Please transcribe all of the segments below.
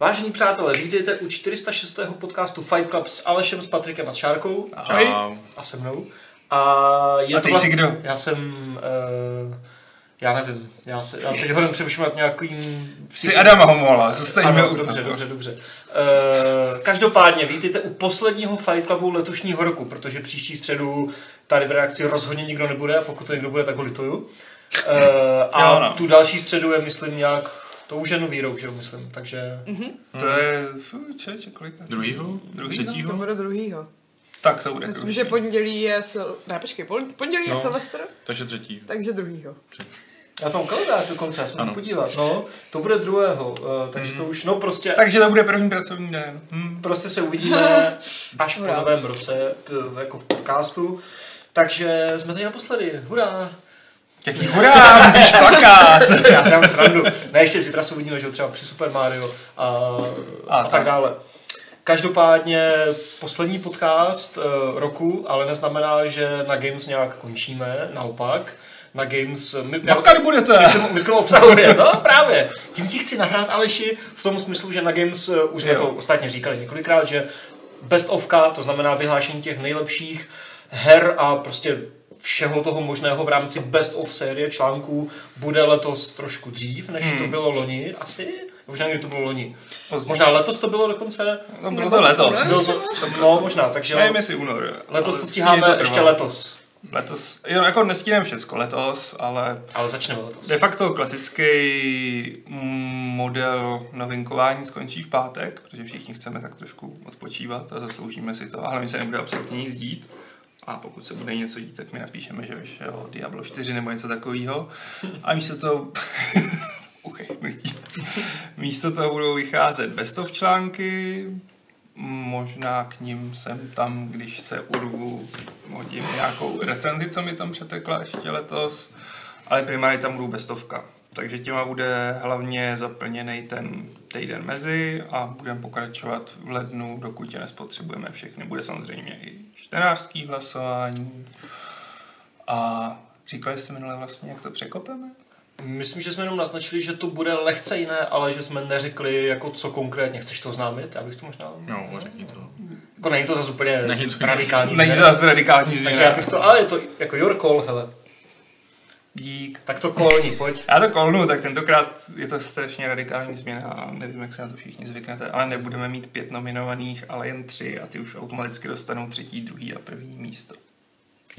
Vážení přátelé, vítejte u 406. podcastu Fight Club s Alešem, s Patrikem a s Šárkou. Ahoj. A se mnou. A, je A to ty jsi kdo? Já jsem... Uh, já nevím. Já, se, já teď hodem přemýšlím nad nějakým... Jsi Adama Homola, zůstaňme Ano, u dobře, toho. dobře, dobře. Uh, každopádně vítejte u posledního Fight Clubu letošního roku, protože příští středu tady v reakci rozhodně nikdo nebude a pokud to někdo bude, tak ho lituju. Uh, a Jo, no. tu další středu je, myslím, nějak, to už je nový rok, že jo, myslím, takže... To je, fuj, čeče, kolika? Druhýho? Druhýho? Třetího? To bude druhýho. Tak se bude. Myslím, krušit. že pondělí je sil... Ne, počkej, pon- pondělí je No. Silvestr, Takže třetího. takže druhýho. Já tam kalendář dokonce, já jsem Ano. podívat, no, to bude druhého, uh, takže to už, no prostě... Takže to bude první pracovní den. Hm. Prostě se uvidíme až po Hurá. novém roce, k- jako v podcastu. Takže jsme tady naposledy, hurá! Jaký hurá, musíš plakat. Já si dám srandu. Ne, ještě zítra se uvidíme, že jo, třeba při Super Mario a, a, a tak tak. dále. Každopádně poslední podcast uh, roku, ale neznamená, že na Games nějak končíme, naopak. Na Games... My, já- Plakat budete. Myslím, myslím obsahově, no právě. Tím ti chci nahrát Aleši v tom smyslu, že na Games, eh, už jsme Jo. to ostatně říkali několikrát, že best ofka, to znamená vyhlášení těch nejlepších her a prostě všeho toho možného v rámci best of série článků bude letos trošku dřív, než Hmm. to bylo loni, asi? Možná někdy to bylo loni. Později. Možná letos to bylo dokonce? No, bylo to letos. Bylo to, no, možná, takže Nevím, jestli únor. letos ale to stíháme mě ještě trvalo. letos. Letos, jo, jako nestíneme všecko letos, ale Ale začneme letos. de facto klasický mm, model novinkování skončí v pátek, protože všichni chceme tak trošku odpočívat a zasloužíme si to. A hlavně se nebude absolutně nic dít. A pokud se bude něco dít, tak mi napíšeme, že vyšel Diablo 4 nebo něco takového. A místo toho... Uchytnutí. místo toho budou vycházet bestov články, možná k ním jsem tam, když se urvu, hodím nějakou recenzi, co mi tam přetekla ještě letos, ale primárně tam budou bestovka. Takže těma bude hlavně zaplněný ten týden mezi a budeme pokračovat v lednu, dokud je nespotřebujeme všechny. Bude samozřejmě i čtenářský hlasování a říkali jste minule vlastně, jak to překopeme? Myslím, že jsme jenom naznačili, že to bude lehce jiné, ale že jsme neřekli, jako co konkrétně chceš to oznámit, abych to možná... No, řekni to. Jako není to zase úplně Není to- radikální Není to změna. zase radikální Takže já změna. bych to, ale je to jako your call, hele. Dík. Tak to kolní, pojď. Já to kolnu, tak tentokrát je to strašně radikální změna a nevím, jak se na to všichni zvyknete, ale nebudeme mít pět nominovaných, ale jen tři a ty už automaticky dostanou třetí, druhý a první místo.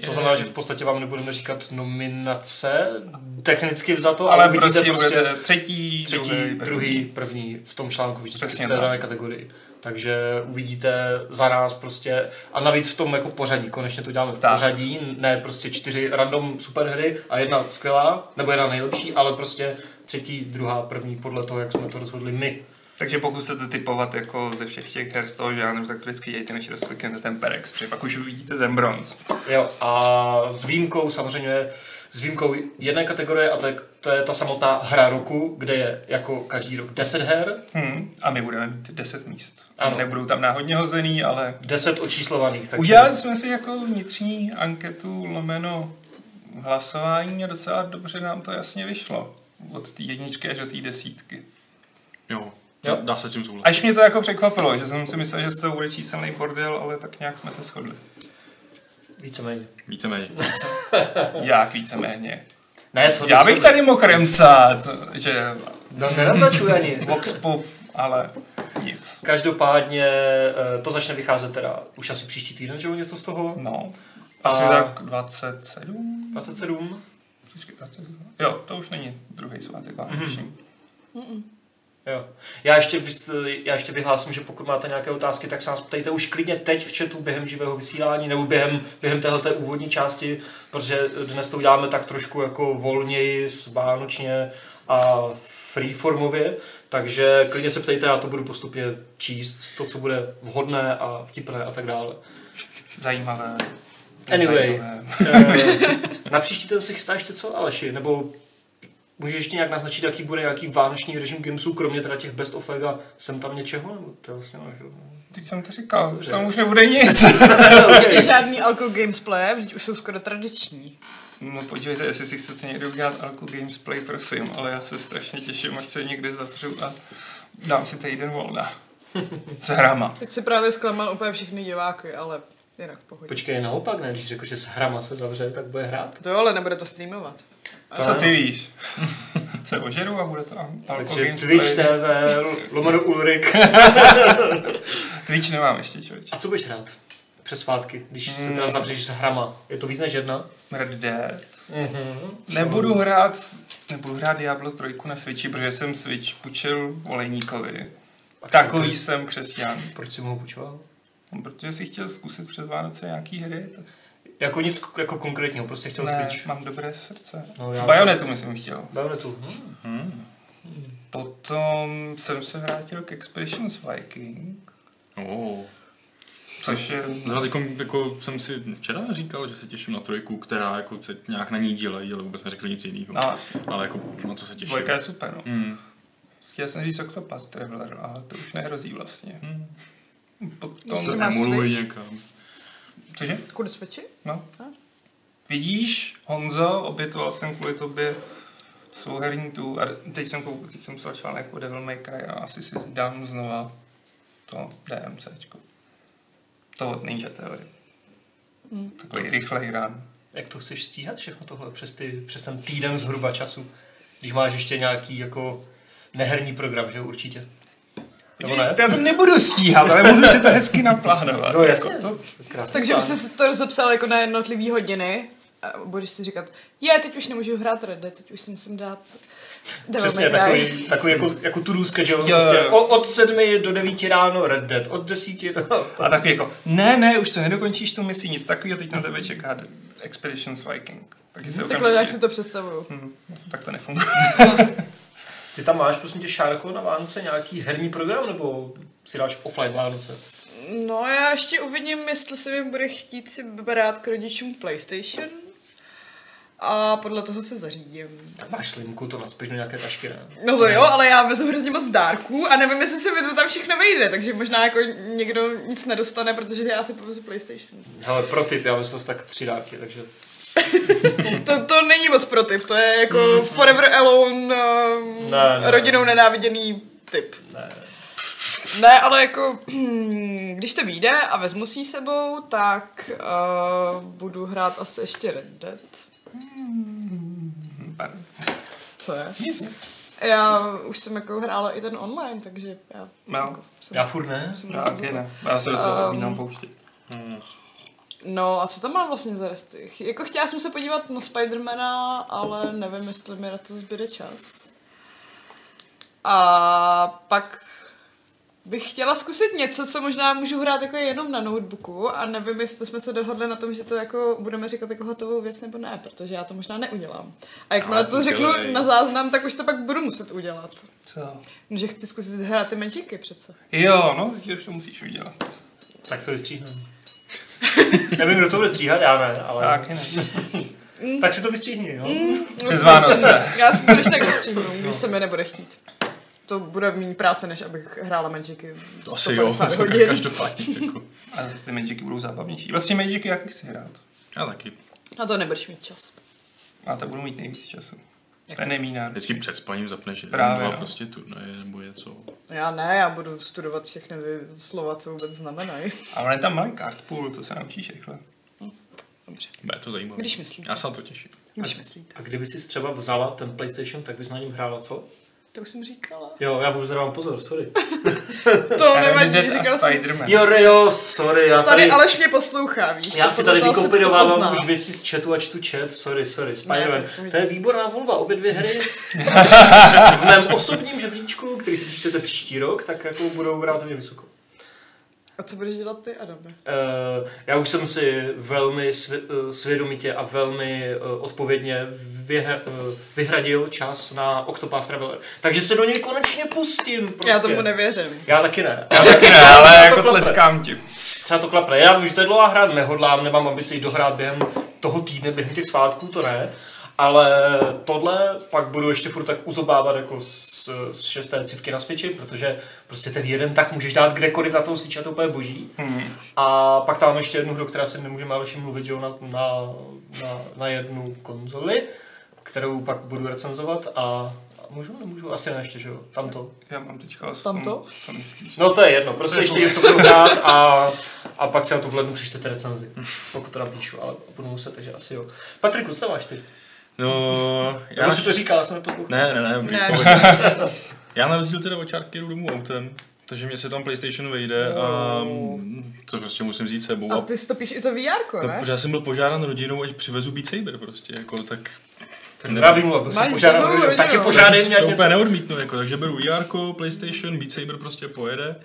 To znamená, že v podstatě vám nebudeme říkat nominace, technicky vzato, ale, Ale ale vidíte prostě, prostě budete třetí, třetí, druhý, druhý, první v tom článku vždycky Přesně v té tak. dané kategorii. Takže uvidíte za nás prostě, a navíc v tom jako pořadí, konečně to děláme v Tak. pořadí, ne prostě čtyři random superhry a jedna skvělá, nebo jedna nejlepší, ale prostě třetí, druhá, první podle toho, jak jsme to rozhodli my. Takže pokud chcete typovat jako ze všech těch her z toho žánru, tak to vždycky dějte, než rozkliknete ten Perex, protože pak už uvidíte ten bronz. Jo, a s výjimkou samozřejmě, s výjimkou jedné kategorie, a to je, to je ta samotná hra roku, kde je jako každý rok 10 her, Hmm. A my budeme mít 10 míst. A Ano. nebudou tam náhodně hozený, ale 10 očíslovaných. Takže... Udělali jsme si jako vnitřní anketu lomeno hlasování a docela dobře nám to jasně vyšlo. Od té jedničky až do té desítky. Jo, Jo? dá se s tím souhlasit. Až mě to jako překvapilo, že jsem si myslel, že z toho bude číselný bordel, ale tak nějak jsme se shodli. Víceméně. Víceméně. Jak víceméně. Ne, shodli Já jsme bych tady mohl remcat, že No, nenaznačuji ani. Vox Pop, ale nic. Každopádně eh, to začne vycházet teda už asi příští týden, že jo, něco z toho. No, asi A- tak 27? 27. Počkej, 27. Jo, to už není druhý svátek Mhm. vánoční. Jo. Já, ještě, vys- já ještě vyhlásím, že pokud máte nějaké otázky, tak se nás ptejte už klidně teď v chatu během živého vysílání nebo během, během téhleté úvodní části, protože dnes to uděláme tak trošku jako volněji, s vánočně a freeformově, takže klidně se ptejte, já to budu postupně číst, to, co bude vhodné a vtipné a tak dále. Zajímavé. Anyway. Zajímavé. Eh, na příští ten se chystá ještě co, Aleši? Nebo můžeš ještě nějak naznačit, jaký bude nějaký vánoční režim Gamesů, kromě teda těch best of a sem tam něčeho? Nebo to je vlastně Teď jsem to říkal, že tam už nebude nic. Ještě žádný Alko Games Play, vždyť už jsou skoro tradiční. No podívejte, jestli si chcete někdy udělat Alku Gamesplay, prosím, ale já se strašně těším, až se někde zavřu a dám si týden volna. S hrama. Teď si právě zklamal úplně všechny diváky, ale jinak v pohodě. Počkej, naopak, ne? Když řekl, že s hrama se zavře, tak bude hrát. To jo, ale nebude to streamovat. To Co ne. ty víš? Se ožeru a bude to Al- Alko Takže Gamesplay. Twitch TV, lomeno Ulrik. Twitch nemám ještě, člověče. A co budeš hrát? Přes svátky, když se Hmm. teda zavřeš s hrama. Je to víc než jedna? Red Dead. Mhm. Nebudu hrát, nebudu hrát Diablo 3 na Switchi, protože jsem Switch půjčil Olejníkovi. Takový jsem křesťan. Proč si mu ho půjčoval? Protože si chtěl zkusit přes Vánoce nějaký hry, tak Jako nic k- jako konkrétního, prostě chtěl ne, Switch. mám dobré srdce. No, já- Bajonetu myslím chtěl. Bajonetu. Hm. Potom jsem se vrátil k Expeditions Viking, Oh. což je... Zrovna teďkom, jako jsem si včera říkal, že se těším na trojku, která jako se nějak na ní dělají, ale vůbec neřekli nic jiného. No, Ale jako na co se těším. dvojka je super, no. Mm. Chtěl jsem říct Octopath Traveler, ale to už nehrozí vlastně. Hmm. Potom... Jestli Se máš emuluji Switch? Prostě někam. Cože? Kudy switchi? No. Vidíš, Honzo, obětoval jsem kvůli tobě souherní tu, a teď jsem, kouk, teď jsem psal článek o Devil May Cry a asi si dám znova to DMCčko. To od Ninja Theory. Mm. Takový rychlej run. Jak to chceš stíhat všechno tohle přes, ty, přes ten týden zhruba času? Když máš ještě nějaký jako neherní program, že jo, určitě. Nebo ne? Já to nebudu stíhat, ale budu si to hezky naplánovat. No, jasně. Jako to, Krásný Takže plán. bys si to rozepsal jako na jednotlivý hodiny a budeš si říkat, je, teď už nemůžu hrát Red Dead, teď už si musím dát Devil Přesně, May Cry. takový, takový jako, jako tu růzka, že jo, Jo, prostě jo. o, od sedmi do devíti ráno Red Dead, od desíti no. do... a takový jako, ne, ne, už to nedokončíš tu misi, nic takového, teď na tebe čeká Expeditions Viking. Taky se Takhle, jak okamžitě- si to představuju. Hm, tak to nefunguje. Ty tam máš prosím tě Šárko na Vánoce nějaký herní program, nebo si dáš offline Vánoce? No, já ještě uvidím, jestli se mi bude chtít si brát k rodičům PlayStation. A podle toho se zařídím. Tak máš slimku, to nadspíš do nějaké tašky, ne? No to jo, ale já vezu hrozně moc dárků a nevím, jestli se mi to tam všechno vejde, takže možná jako někdo nic nedostane, protože já si povezu PlayStation. Hele, pro tip, já myslím, tak tři dárky, takže... To, to není moc pro typ, to je jako forever alone, um, Mhm. Ne, ne. rodinou nenáviděný typ. Ne. Ne, ale jako, hm, když to vyjde a vezmu si ji sebou, tak uh, budu hrát asi ještě Red Dead. Pardon. Co je? Nic, nic. Já už jsem jako hrála i ten online, takže já jako No, jsem... Já furt ne. jsem já taky ne. Já se do toho Um, odmínám pouštět. No a co tam mám vlastně za resty? Ch- Jako chtěla jsem se podívat na Spidermana, ale nevím, jestli mi na to zbyde čas. A pak bych chtěla zkusit něco, co možná můžu hrát jako jenom na notebooku a nevím, jestli jsme se dohodli na tom, že to jako budeme říkat jako hotovou věc nebo ne, protože já to možná neudělám. A jakmile Ale to řeknu udělej. na záznam, tak už to pak budu muset udělat. Co? No, Že chci zkusit hrát ty magiky přece. Jo, no, teď už to musíš udělat. Tak to vystříhneme. Nevím, kdo to bude stříhat, já ne, ale... Tak, Taky ne. tak si to vystříhni, jo? Mm. Přes Vánoce. Já si to když tak dostříhnu, když se mi nebude chtít. To bude méně práce, než abych hrála Magicy Asi jo, 150 hodin. hodin. každopádně. Jako. A zase ty Magicy budou zábavnější. Vlastně Magicy jak chci hrát. Já taky. Na to nebudeš mít čas. A to budu mít nejvíc času. To je nemý nárok. Vždycky před spaním zapneš jeden, Právě, dva no. prostě turnaje nebo něco. Já ne, já budu studovat všechny ty slova, co vůbec znamenají. A on je tam malý card pool, to se naučíš rychle. Dobře, Bude to zajímavé. Když myslíte. Já se na to těším. když myslíte. A kdyby si třeba vzala ten PlayStation, tak bys na něm hrála, co? To už jsem říkala. Jo, já vůbec nedávám pozor, sorry. To Red nevadí, Dead a říkala jsem. No Spider-Man. Jo, jo, sorry, já tady... Tady Aleš mě poslouchá, víš? Já tak si podle tady toho se to pozná. vykopidovávám už věci z chatu a čtu chat, sorry, sorry, Spider-Man. Ne, tak pojď. to je výborná volba, obě dvě hry. v mém osobním žebříčku, který si přečtete příští rok, tak jako budou relativně vysoko. A co budeš dělat ty, Adame? Eh, já už jsem si velmi svě- eh, svědomitě a velmi eh, odpovědně vyhe- eh, vyhradil čas na Octopath Traveler. Takže se do něj konečně pustím. Prostě. Já tomu nevěřím. Já taky ne. Já taky ne, Já ale to jako klape. tleskám ti. Třeba to klapne. Já vím, že to je dlouhá hra, nehodlám, nemám ambici jít dohrát během toho týdne, během těch svátků, to ne. Ale tohle pak budu ještě furt tak uzobávat jako z, z šesté civky na Switchi, protože prostě ten jeden tak můžeš dát kdekoliv na tom Switchi a to úplně boží. Hmm. A pak tam ještě jednu hru, která si nemůžeme ale ještě mluvit, že jo, na, na, na, na jednu konzoli, kterou pak budu recenzovat a, a můžu, nemůžu, asi ne ještě, že jo, tam to. Já mám teďka asi Tamto? Co myslíš? No to je jedno, prostě ještě něco budu hrát a, a pak si na to v lednu přečtete recenzi, pokud to napíšu, ale budu muset, takže asi jo. Patriku, co tam máš ty? No, Já, já... já si to říkal, já jsem neposlouchal. Ne, ne, ne, Ne. Já na rozdíl teda od čárky jdu domů autem, takže mě se tam PlayStation vejde a mm, to prostě musím vzít sebou. A A ty si to píš i to VR, no, ne? protože já jsem byl požádán rodinou, ať přivezu Beat Saber prostě, jako tak... Tak já vím, byl Máš jsem požádám, dobrou rodinu, tak tě rodinu. požádej mě To něco. úplně neodmítnu, jako, takže beru VR, PlayStation, Beat Saber prostě pojede.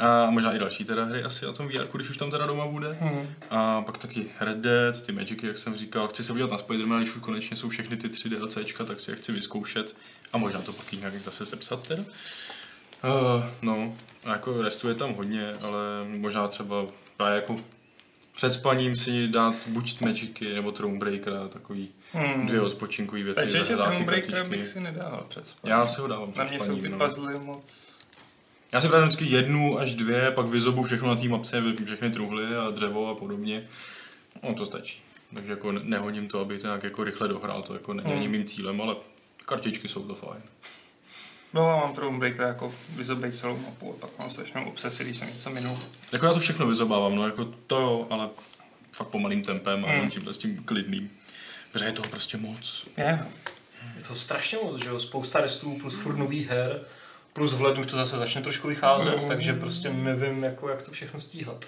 A možná i další teda hry asi na tom VR, když už tam teda doma bude. Hmm. A pak taky Red Dead, ty Magicy, jak jsem říkal. Chci se podívat na Spider-Man, když už konečně jsou všechny ty tři DLCčka, tak si je chci vyzkoušet. A možná to pak nějak zase sepsat teda. Uh, no, a jako restuje tam hodně, ale možná třeba právě jako před spaním si dát buď Magicy nebo Thronebreakera, takový Hmm. dvě odpočinkové věci. Takže tě zahrávací Thronebreaker kartičky. bych si nedával před Já si ho dávám Na před mě jsou spaním, ty no. puzzle moc... Já si právě vždycky jednu až dvě, pak vyzobu všechno na té mapce, všechny truhly a dřevo a podobně. No to stačí. Takže jako ne- nehoním to, abych to nějak jako rychle dohrál, to jako není Hmm. mým cílem, ale kartičky jsou to fajn. No a mám Thronebreaker jako vyzobej celou mapu a pak mám strašnou obsesi, když jsem něco minul. Jako já to všechno vyzobávám, no jako to jo, ale fakt pomalým tempem a Hmm. hmm. tímhle s tím klidným. Protože je toho prostě moc. Je, no. Je to strašně moc, že jo? Spousta restů plus furt nových her, plus v lednu už to zase začne trošku vycházet, Mm. takže prostě nevím, jako, jak to všechno stíhat.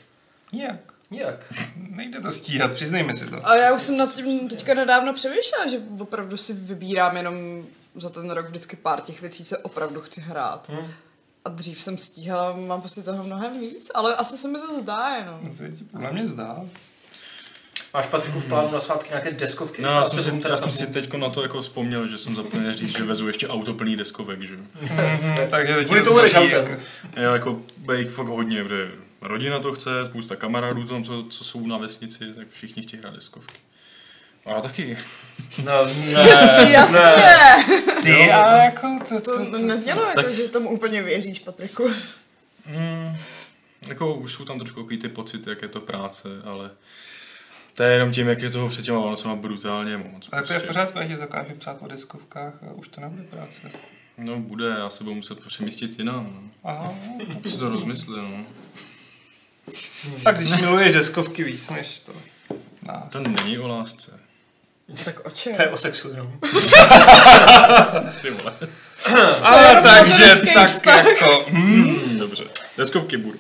Nijak. Nijak. Nejde to stíhat, přiznejme si to. A já už jsem nad tím teďka nedávno přemýšlela, že opravdu si vybírám jenom za ten rok vždycky pár těch věcí, co opravdu chci hrát. Hm. A dřív jsem stíhala, mám prostě toho mnohem víc, ale asi se mi to zdá jenom. No To ti podle mě zdá. Máš Patriku v plánu na svátky nějaké deskovky? No, já jsem, si, já jsem si teď na to jako vzpomněl, že jsem zapomněl říct, že vezu ještě auto plný deskovek, že jo. Mhm. Takže to ti Kvůli tomu jdeš rozhodí, autem. jako- Jo, jako bude jich fakt hodně, protože rodina to chce, spousta kamarádů tam, co, co jsou na vesnici, tak všichni chtějí hrát deskovky. A já taky. No, ne, Jasně! ne. Ty, ale jako to... To neznělo jako, že tomu úplně věříš, Patriku. Mm, jako už jsou tam trošku takový ty pocity, jak je to práce, ale to je jenom tím, jak je toho před těma Vánocema brutálně moc. prostě. Ale to je v pořádku, já ti dokážu psát o deskovkách a už to nebude práce. No bude, já se budu muset přemístit jinam. Aha. No. Už si to rozmyslel, no. Tak když miluješ deskovky víc než to. No. To není o lásce. Tak o čem? To je o sexu jenom. Ty vole. Ale takže romantický tak vztah. jako... Hmm. Mm, dobře. Deskovky budu.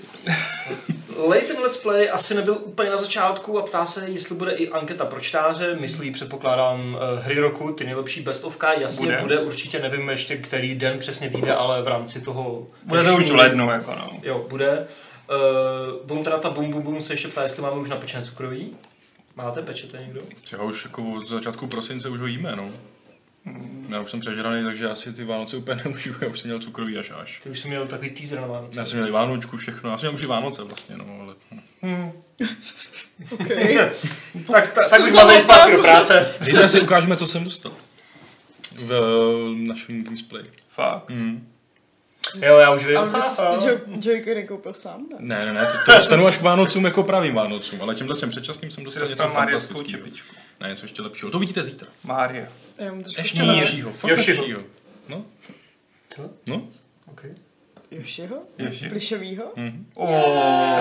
Leighton Let's Play asi nebyl úplně na začátku a ptá se, jestli bude i anketa pro čtáře. Myslí, předpokládám, eh, hry roku, ty nejlepší bestovka. Jasně bude. Bude. bude, určitě nevím ještě, který den přesně vyjde, ale v rámci toho... Bude to už v dnešního- lednu, jako no. Jo, bude. Uh, bum, teda ta bum, bum, bum se ještě ptá, jestli máme už napečené cukroví. Máte, pečete někdo? Já už jako od začátku prosince už ho jíme, no. Já už jsem přežraný, takže asi ty Vánoce úplně nemůžu, já už jsem měl cukrový až až. Ty už jsi měl takový teaser na Vánoce. Já jsem měl i Vánočku, všechno, já jsem měl už i Vánoce vlastně, no, ale... hm. Hmm. Okay. Tak, tak, tak už Co mazej za zpátky tam? do práce. Zítra si ukážeme, co jsem dostal. V eh, našem display. Fakt. Mm. Jo, já už vím. A vůbec ty Jo- Joy-Con nekoupil sám, ne? Ne, ne, ne, to, to dostanu až k Vánocům jako pravým Vánocům, ale tímhle jsem předčasným jsem Jsi dostal něco dostal Mariovskou fantastického. čepičku. Ne, něco ještě lepšího, to vidíte zítra. Mária. Já mám trošku Ještě štědá. lepšího, fakt Joshiho. lepšího. No, Co? no. Okay. Jošiho? Ježi. Plišovýho?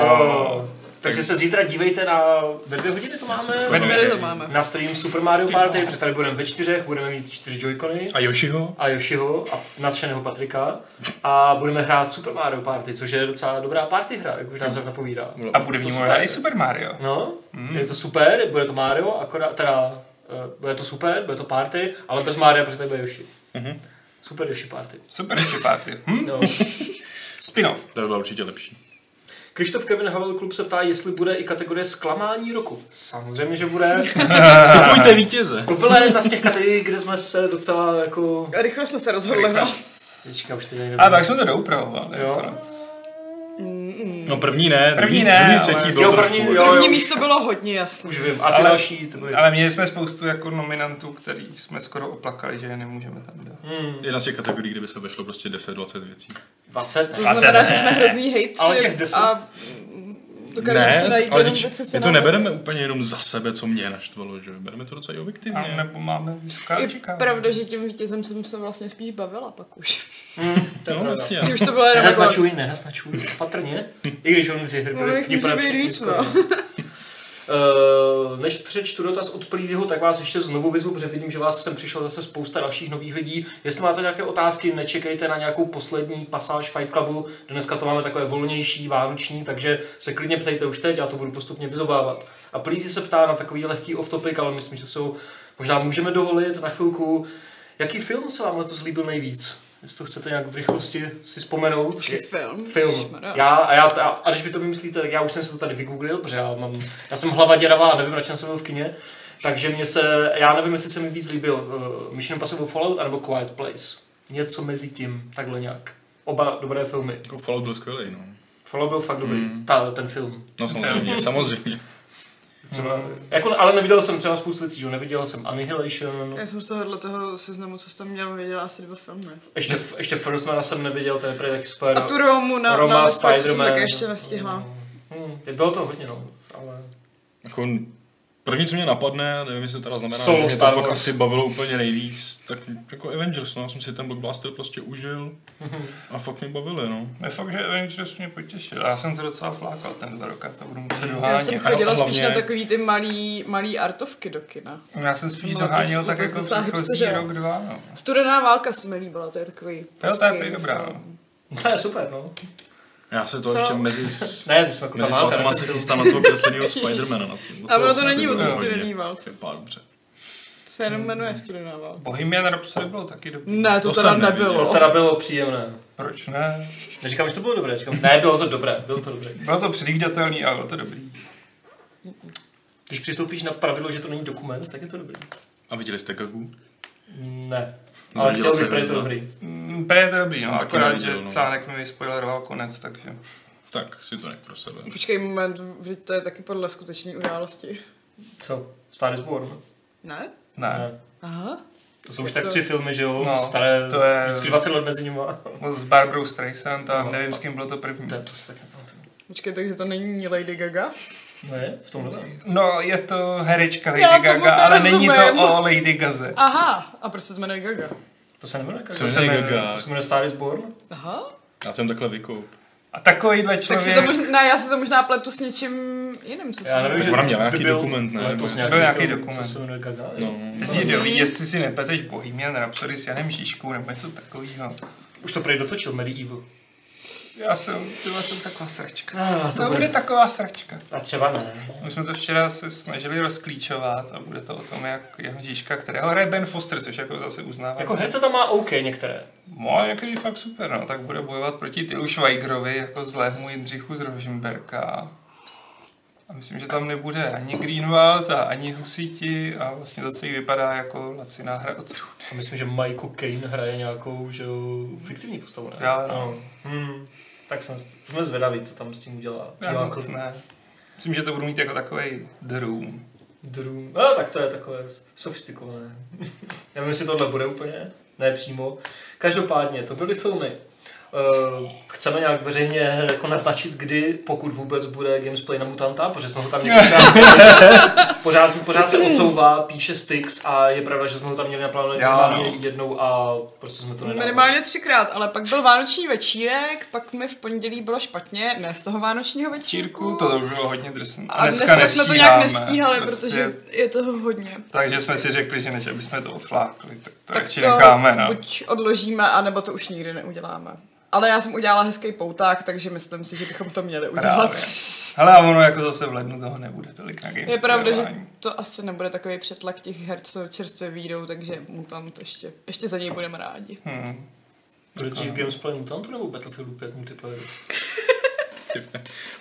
Oh. Takže se zítra dívejte na... Ve dvě hodiny to Ve máme? dvě. Tady to máme. Na stream Super Mario Party, protože tady budeme ve čtyřech, budeme mít čtyři Joy-Cony. A Joshiho? a Yoshiho a nadšeného Patrika a budeme hrát Super Mario Party, což je docela dobrá party hra, jak už název napovídá. A bude v ní To možná super. i Super Mario. No, je to super, bude to Mario, akorát, teda, eh, bude to super, bude to party, ale bez Maria, protože tady bude Yoshi. Super Yoshi Party. Super čepáty. Hm? No. Spin-off. To byla určitě lepší. Krištof Kevin Havel Klub se ptá, jestli bude i kategorie zklamání roku. Samozřejmě, že bude. Kupujte vítěze. To byla jedna z těch kategorií, kde jsme se docela jako... Rychle jsme se rozhodli, no. Teďka už teď nejde. A tak jsme to doupravovali. Jo. akorát. No první ne, První druhý, ne, druhý ale- třetí bylo Jo, trošku první, od- jo. První už- místo bylo hodně jasné. Už vím. A ty Ale- další, ty byly... Ale měli jsme spoustu jako nominantů, který jsme skoro oplakali, že je nemůžeme tam dát. Hmm, Jedna z těch kategorií, kde by se vešlo prostě 10-20 věcí. 20. To 20 znamená, ne. že jsme hrozný hejtři. Ale těch deset- A dokážeme se najít ale jenom teď- věci, co my to jako nám- nebereme úplně jenom za sebe, co mě naštvalo, že jo? bereme to docela i A objektivně. nebo máme vysoká Je očekávání. pravda, že tím vítězem jsem se vlastně spíš bavila pak už. No, vlastně. Že už to bylo jenom jako... Nenaznačuj, nenaznačuj, patrně. I když on ty hry No, byly jich vtipné může být všechny víc, no. skoro. Eh, než přečtu dotaz od Plízyho, tak vás ještě znovu vyzvu, protože vidím, že vás sem přišlo zase spousta dalších nových lidí. Jestli máte nějaké otázky, nečekejte na nějakou poslední pasáž Fight Clubu. Dneska to máme takové volnější, vánoční, takže se klidně ptejte už teď, já to budu postupně vyzobávat. A Plízy se ptá na takový lehký off-topic, ale myslím, že jsou možná můžeme dovolit na chvilku. Jaký film se vám letos líbil nejvíc? Jestli to chcete nějak v rychlosti si vzpomenout. Počkej, film. Film. Ježišmarja. Já, a, já, a, a když vy to vymyslíte, tak já už jsem se to tady vygooglil, protože já, mám, já jsem hlava děravá a nevím, na čem jsem byl v kině. Takže mě se, já nevím, jestli se mi víc líbil uh, Mission Impossible Fallout anebo Quiet Place. Něco mezi tím, takhle nějak. Oba dobré filmy. Jako Fallout byl skvělý, no. Fallout byl fakt dobrý, Mm. Ta, ten film. No samozřejmě, samozřejmě. Třeba, jako, ale neviděl jsem třeba spoustu věcí, že jo? neviděl jsem Annihilation, Já jsem z tohohle toho seznamu, co jsi tam měl, viděla asi dva filmy. ještě, ještě Firstmana jsem neviděl, ten je prý taky A super. tu Romu na, Roma, na Netflixu jsem Spider-Man. také ještě nestihla. Hmm, bylo to hodně, no, ale... Jako první, co mě napadne, nevím, jestli to teda znamená, Jsou že mě to Star fakt Wars. asi bavilo úplně nejvíc, tak jako Avengers, no, já jsem si ten blockbuster prostě užil a fakt mě bavili, no. Je fakt, že Avengers mě potěšil. Já jsem to docela flákal ten rok a to budu muset Hmm. Já dohánět. jsem a chodila spíš hlavně- na takový ty malý, malý artovky do kina. Já jsem spíš No, doháněl to- tak to jako dosáhli předchozí jste, že jo? rok, dva. No. Studená válka se mi líbila, to je takový... Jo, to je polský prý dobrá, film. To je super, no. Já se to Co? ještě mezi, Ne, my jsme jako mezi máte, svatama ne? se chystám na toho kresleného Spidermana na tím. A ono to není o té Jo, studený válce. Pár dobře. To se jenom jmenuje studená válka. Bohemian Rhapsody bylo taky dobrý. Ne, to, To teda jsem neviděl. nebylo. To teda bylo příjemné. Proč ne? Neříkám, že to bylo dobré, říkám, ne, bylo to dobré, bylo to dobré. Bylo to předvídatelný, ale bylo to dobrý. Když přistoupíš na pravidlo, že to není dokument, tak je to dobrý. A viděli jste Gagu? Ne. Ale chtěl Zadělal se bych, protože je to hvězda. dobrý. Mm, Prý je to dobrý, Jsem no, taky akorát, neviděl, že no. článek mi vyspoileroval konec, takže... Tak si to nech pro sebe. Počkej moment, vždyť to je taky podle skutečné události. Co? Star is Born? Ne? Ne, Aha. To jsou už Je tak to- tři filmy, že jo? No, staré, to je- vždycky 20 let mezi nimi. Byl s Barbarou Streisand a No. nevím, s kým bylo to první. To, to se tak nepamatuju. Počkej, takže to není Lady Gaga? Ne, v tomhle ne. No, je to herečka Lady Já tomu Gaga, ale není to nerozumím. o Lady Gaze. Aha, a proč se to jmenuje Gaga? To se nemenuje Gaga. Co To je se jmenuje- Gaga? To se jmenuje Star is Born? Aha. Já to jen takhle vykoup. A takovýhle Tak si to člověk... možná, já si to možná pletu s něčím jiným, co Já jsem- nevím, že ona měla by nějaký byl dokument, ne? letos Nebo nějaký, byl nějaký film, dokument. Co se jmenuje Gaga? jo? No. Jestli, no, jestli si nepleteš Bohemian Rhapsody s Janem Žižkou nebo něco takového. Už to prej dotočil, Medieval. Já jsem, to byla to taková sračka. Ah, To bude taková sračka. A třeba ne. My jsme to včera se snažili rozklíčovat a bude to o tom, jak Jan Žižka, kterého hraje Ben Foster, což jako zase uznává. Jako herce tam má OK některé. No, některý fakt super, no, tak bude bojovat proti Tylu Švajgrovi jako zlému Jindřichu z Rožimberka. A myslím, že tam nebude ani Greenwald a ani Husiti a vlastně to celý vypadá jako laciná hra o trůn. A myslím, že Michael Caine hraje nějakou, že jo, fiktivní postavu, ne? Já, no. Hmm. Tak jsem, jsme zvědaví, co tam s tím udělá. Já jako moc ne. Myslím, že to budu mít jako takový The Room. Drum. No, tak to je takové sofistikované. Já nevím, jestli tohle bude úplně, ne přímo. Každopádně, to byly filmy. Uh, chceme nějak veřejně jako naznačit, kdy, pokud vůbec bude Gamesplay na Mutanta, protože jsme ho tam měli pořád, pořád se odsouvá, píše Styx a je pravda, že jsme ho tam měli Já, naplánovaný no. jednou a prostě jsme to nedali. Minimálně třikrát, ale pak byl vánoční večírek, pak mi v pondělí bylo špatně, ne z toho vánočního večírku. Čírku, to bylo hodně drsné. a dneska, jsme to nějak nestíháme, nestíhali, prostě. protože je toho hodně. Takže jsme si řekli, že než abychom to odflákli, tak to tak radši to necháme no. na... buď odložíme, anebo to už nikdy neuděláme. Ale já jsem udělala hezký pouták, takže myslím si, že bychom to měli udělat. Právě. Hele, a ono jako zase v lednu toho nebude tolik na game. Je pravda, že to asi nebude takový přetlak těch her, co čerstvě výjdou, takže mutant ještě, ještě za něj budeme rádi. Hmm. Bude dřív Gamesplay Mutantu nebo Battlefieldu 5 multiplayer?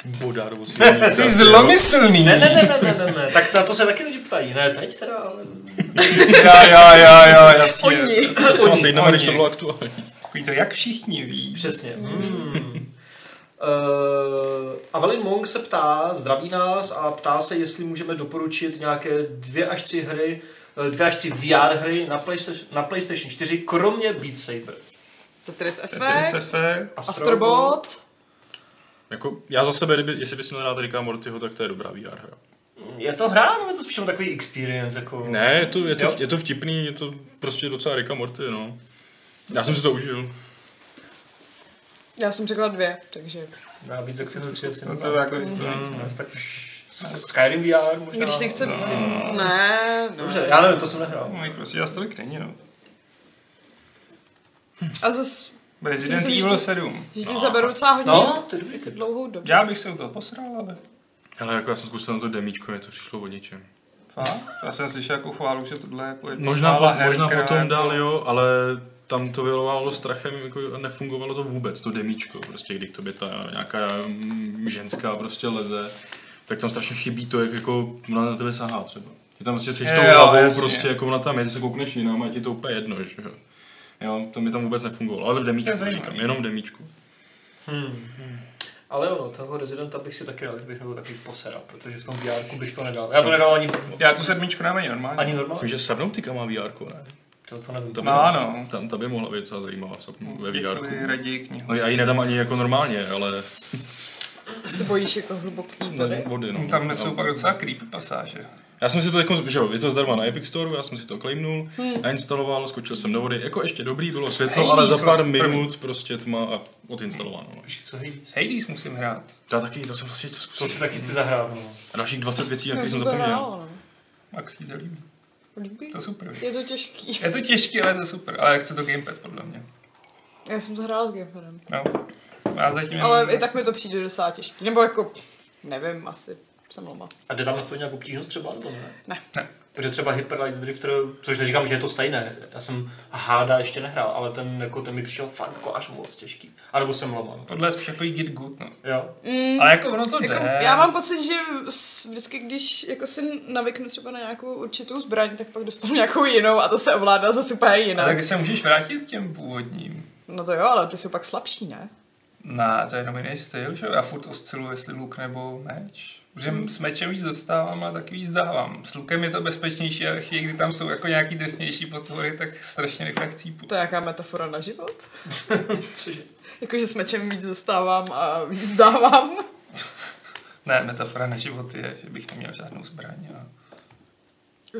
Bodárovo Jsi zlomyslný! Ne, ne, ne, ne, ne, ne, ne. Tak na to se taky lidi ptají. Ne, teď teda, ale... Já, já, já, já, jasně. Oni! Třeba Oni, týdnama, když oni. to bylo aktuální. Takový to, jak všichni ví. Přesně. Hmm. Uh, Avelin Monk se ptá, zdraví nás a ptá se, jestli můžeme doporučit nějaké dvě až tři hry, eh, dvě až tři VR hry na PlayStation, na PlayStation 4, kromě Beat Saber. Tetris Effect, Tetris Effect. Astrobot. Jako, já za sebe, kdyby, jestli bys měl rád Ricka a Mortyho, tak to je dobrá VR hra. Mm, Je to hra, nebo je to spíš jenom takový experience? Jako... Ne, je to, je Jo. to, je to vtipný, je to prostě docela Ricka Morty, no. Já jsem si to užil. Já jsem řekla dvě, takže Já víc, jak si ho tři, asi No to nemám. je takový stran. Hmm. Yes, tak už Skyrim VR možná. když nechce být. Ne, ne. Dobře, já nevím, to jsem nehrál. Hmm. No, prostě já tolik není, no. A zase, Resident Myslím si, že Evil to- 7. že ti zaberu docela hodně No, no? to je dobrý tip. dlouhou dobu. Já bych se u toho posral, ale Ale jako já jsem zkusil na to demíčko, mě to přišlo od ničem. fakt. Já jsem slyšel jako chválu, že tohle je jako jedna Možná, mála po, možná která potom jako- dál, jo, ale tam to vylovalo strachem, jako a nefungovalo to vůbec, to demíčko, prostě když to by ta nějaká mm, ženská prostě leze, tak tam strašně chybí to, jak jako ona na tebe sahá třeba. Ty tam prostě jsi s tou Jo, hlavou, jasně. prostě jako ona tam je, ty se koukneš jinam a je ti to úplně jedno, že jo. Jo, to mi tam vůbec nefungovalo, ale v To demíčku, je zajímavý. říkám, jenom v demíčku. Hmm. Ale ono, toho rezidenta bych si taky rád, bych byl takový posera, protože v tom VR bych to nedal. No. Já to nedal ani, Já tu sedmičku dám ani normálně. ani normálně. Myslím, že Subnautica má VR, ne? To, to nevím. To No ano. Tam, ta by mohla být docela zajímavá v Subnau- ve VR. Děkuji, raději knihu. No, já ji nedám ani jako normálně, ale Se bojíš jako hluboký na vody. vody, no. Tam No. jsou pak docela creepy pasáže. Já jsem si to jako, že jo, je to zdarma na Epic Store, já jsem si to claimnul, hmm. nainstaloval, skočil jsem do vody, jako ještě dobrý, bylo světlo, Hej, ale za jsi pár vlastně první. minut prostě tma a odinstalováno. no. Počkej, co Hades? Hades musím hrát. Já taky, to jsem vlastně to To zkusil. si taky chci zahrát, no. A dalších 20 věcí, na Já které jsem jsem to zapomněl. hrála, no. Max si to líbí. Líbí? To je super. Je to těžký. Je to těžký, ale je to super. Ale chce to gamepad, podle mě. Já jsem to hrála s Gamepadem. No. Já zatím Ale jenom- i tak mi to přijde docela těžký. Nebo jako, nevím, asi jsem lama. A jde tam nastavit nějakou obtížnost třeba, nebo ne? Ne. Protože třeba Hyper Light Drifter, což neříkám, že je to stejné, já jsem Háda ještě nehrál, ale ten, jako, ten mi přišel fakt jako až moc těžký. A nebo jsem lamal. Tohle je spíš takový git good, no. Jo. Mm, Ale jako ono to jako, jde. já mám pocit, že s- vždycky, když jako si navyknu třeba na nějakou určitou zbraň, tak pak dostanu nějakou jinou a to se ovládá zase úplně A jinak. taky se můžeš vrátit k těm původním. No to jo, ale ty jsou pak slabší, ne? Ne, to je jenom jiný styl, že jo? Já furt osciluji, jestli luk nebo meč. Protože Hmm. s mečem víc dostávám a tak víc dávám. S lukem je to bezpečnější a ve chvíli, kdy tam jsou jako nějaký drsnější potvory, tak strašně rychle chcípu. To je nějaká metafora na život. Cože? Jakože s mečem víc dostávám a víc dávám. Ne, metafora na život je, že bych neměl žádnou zbraň a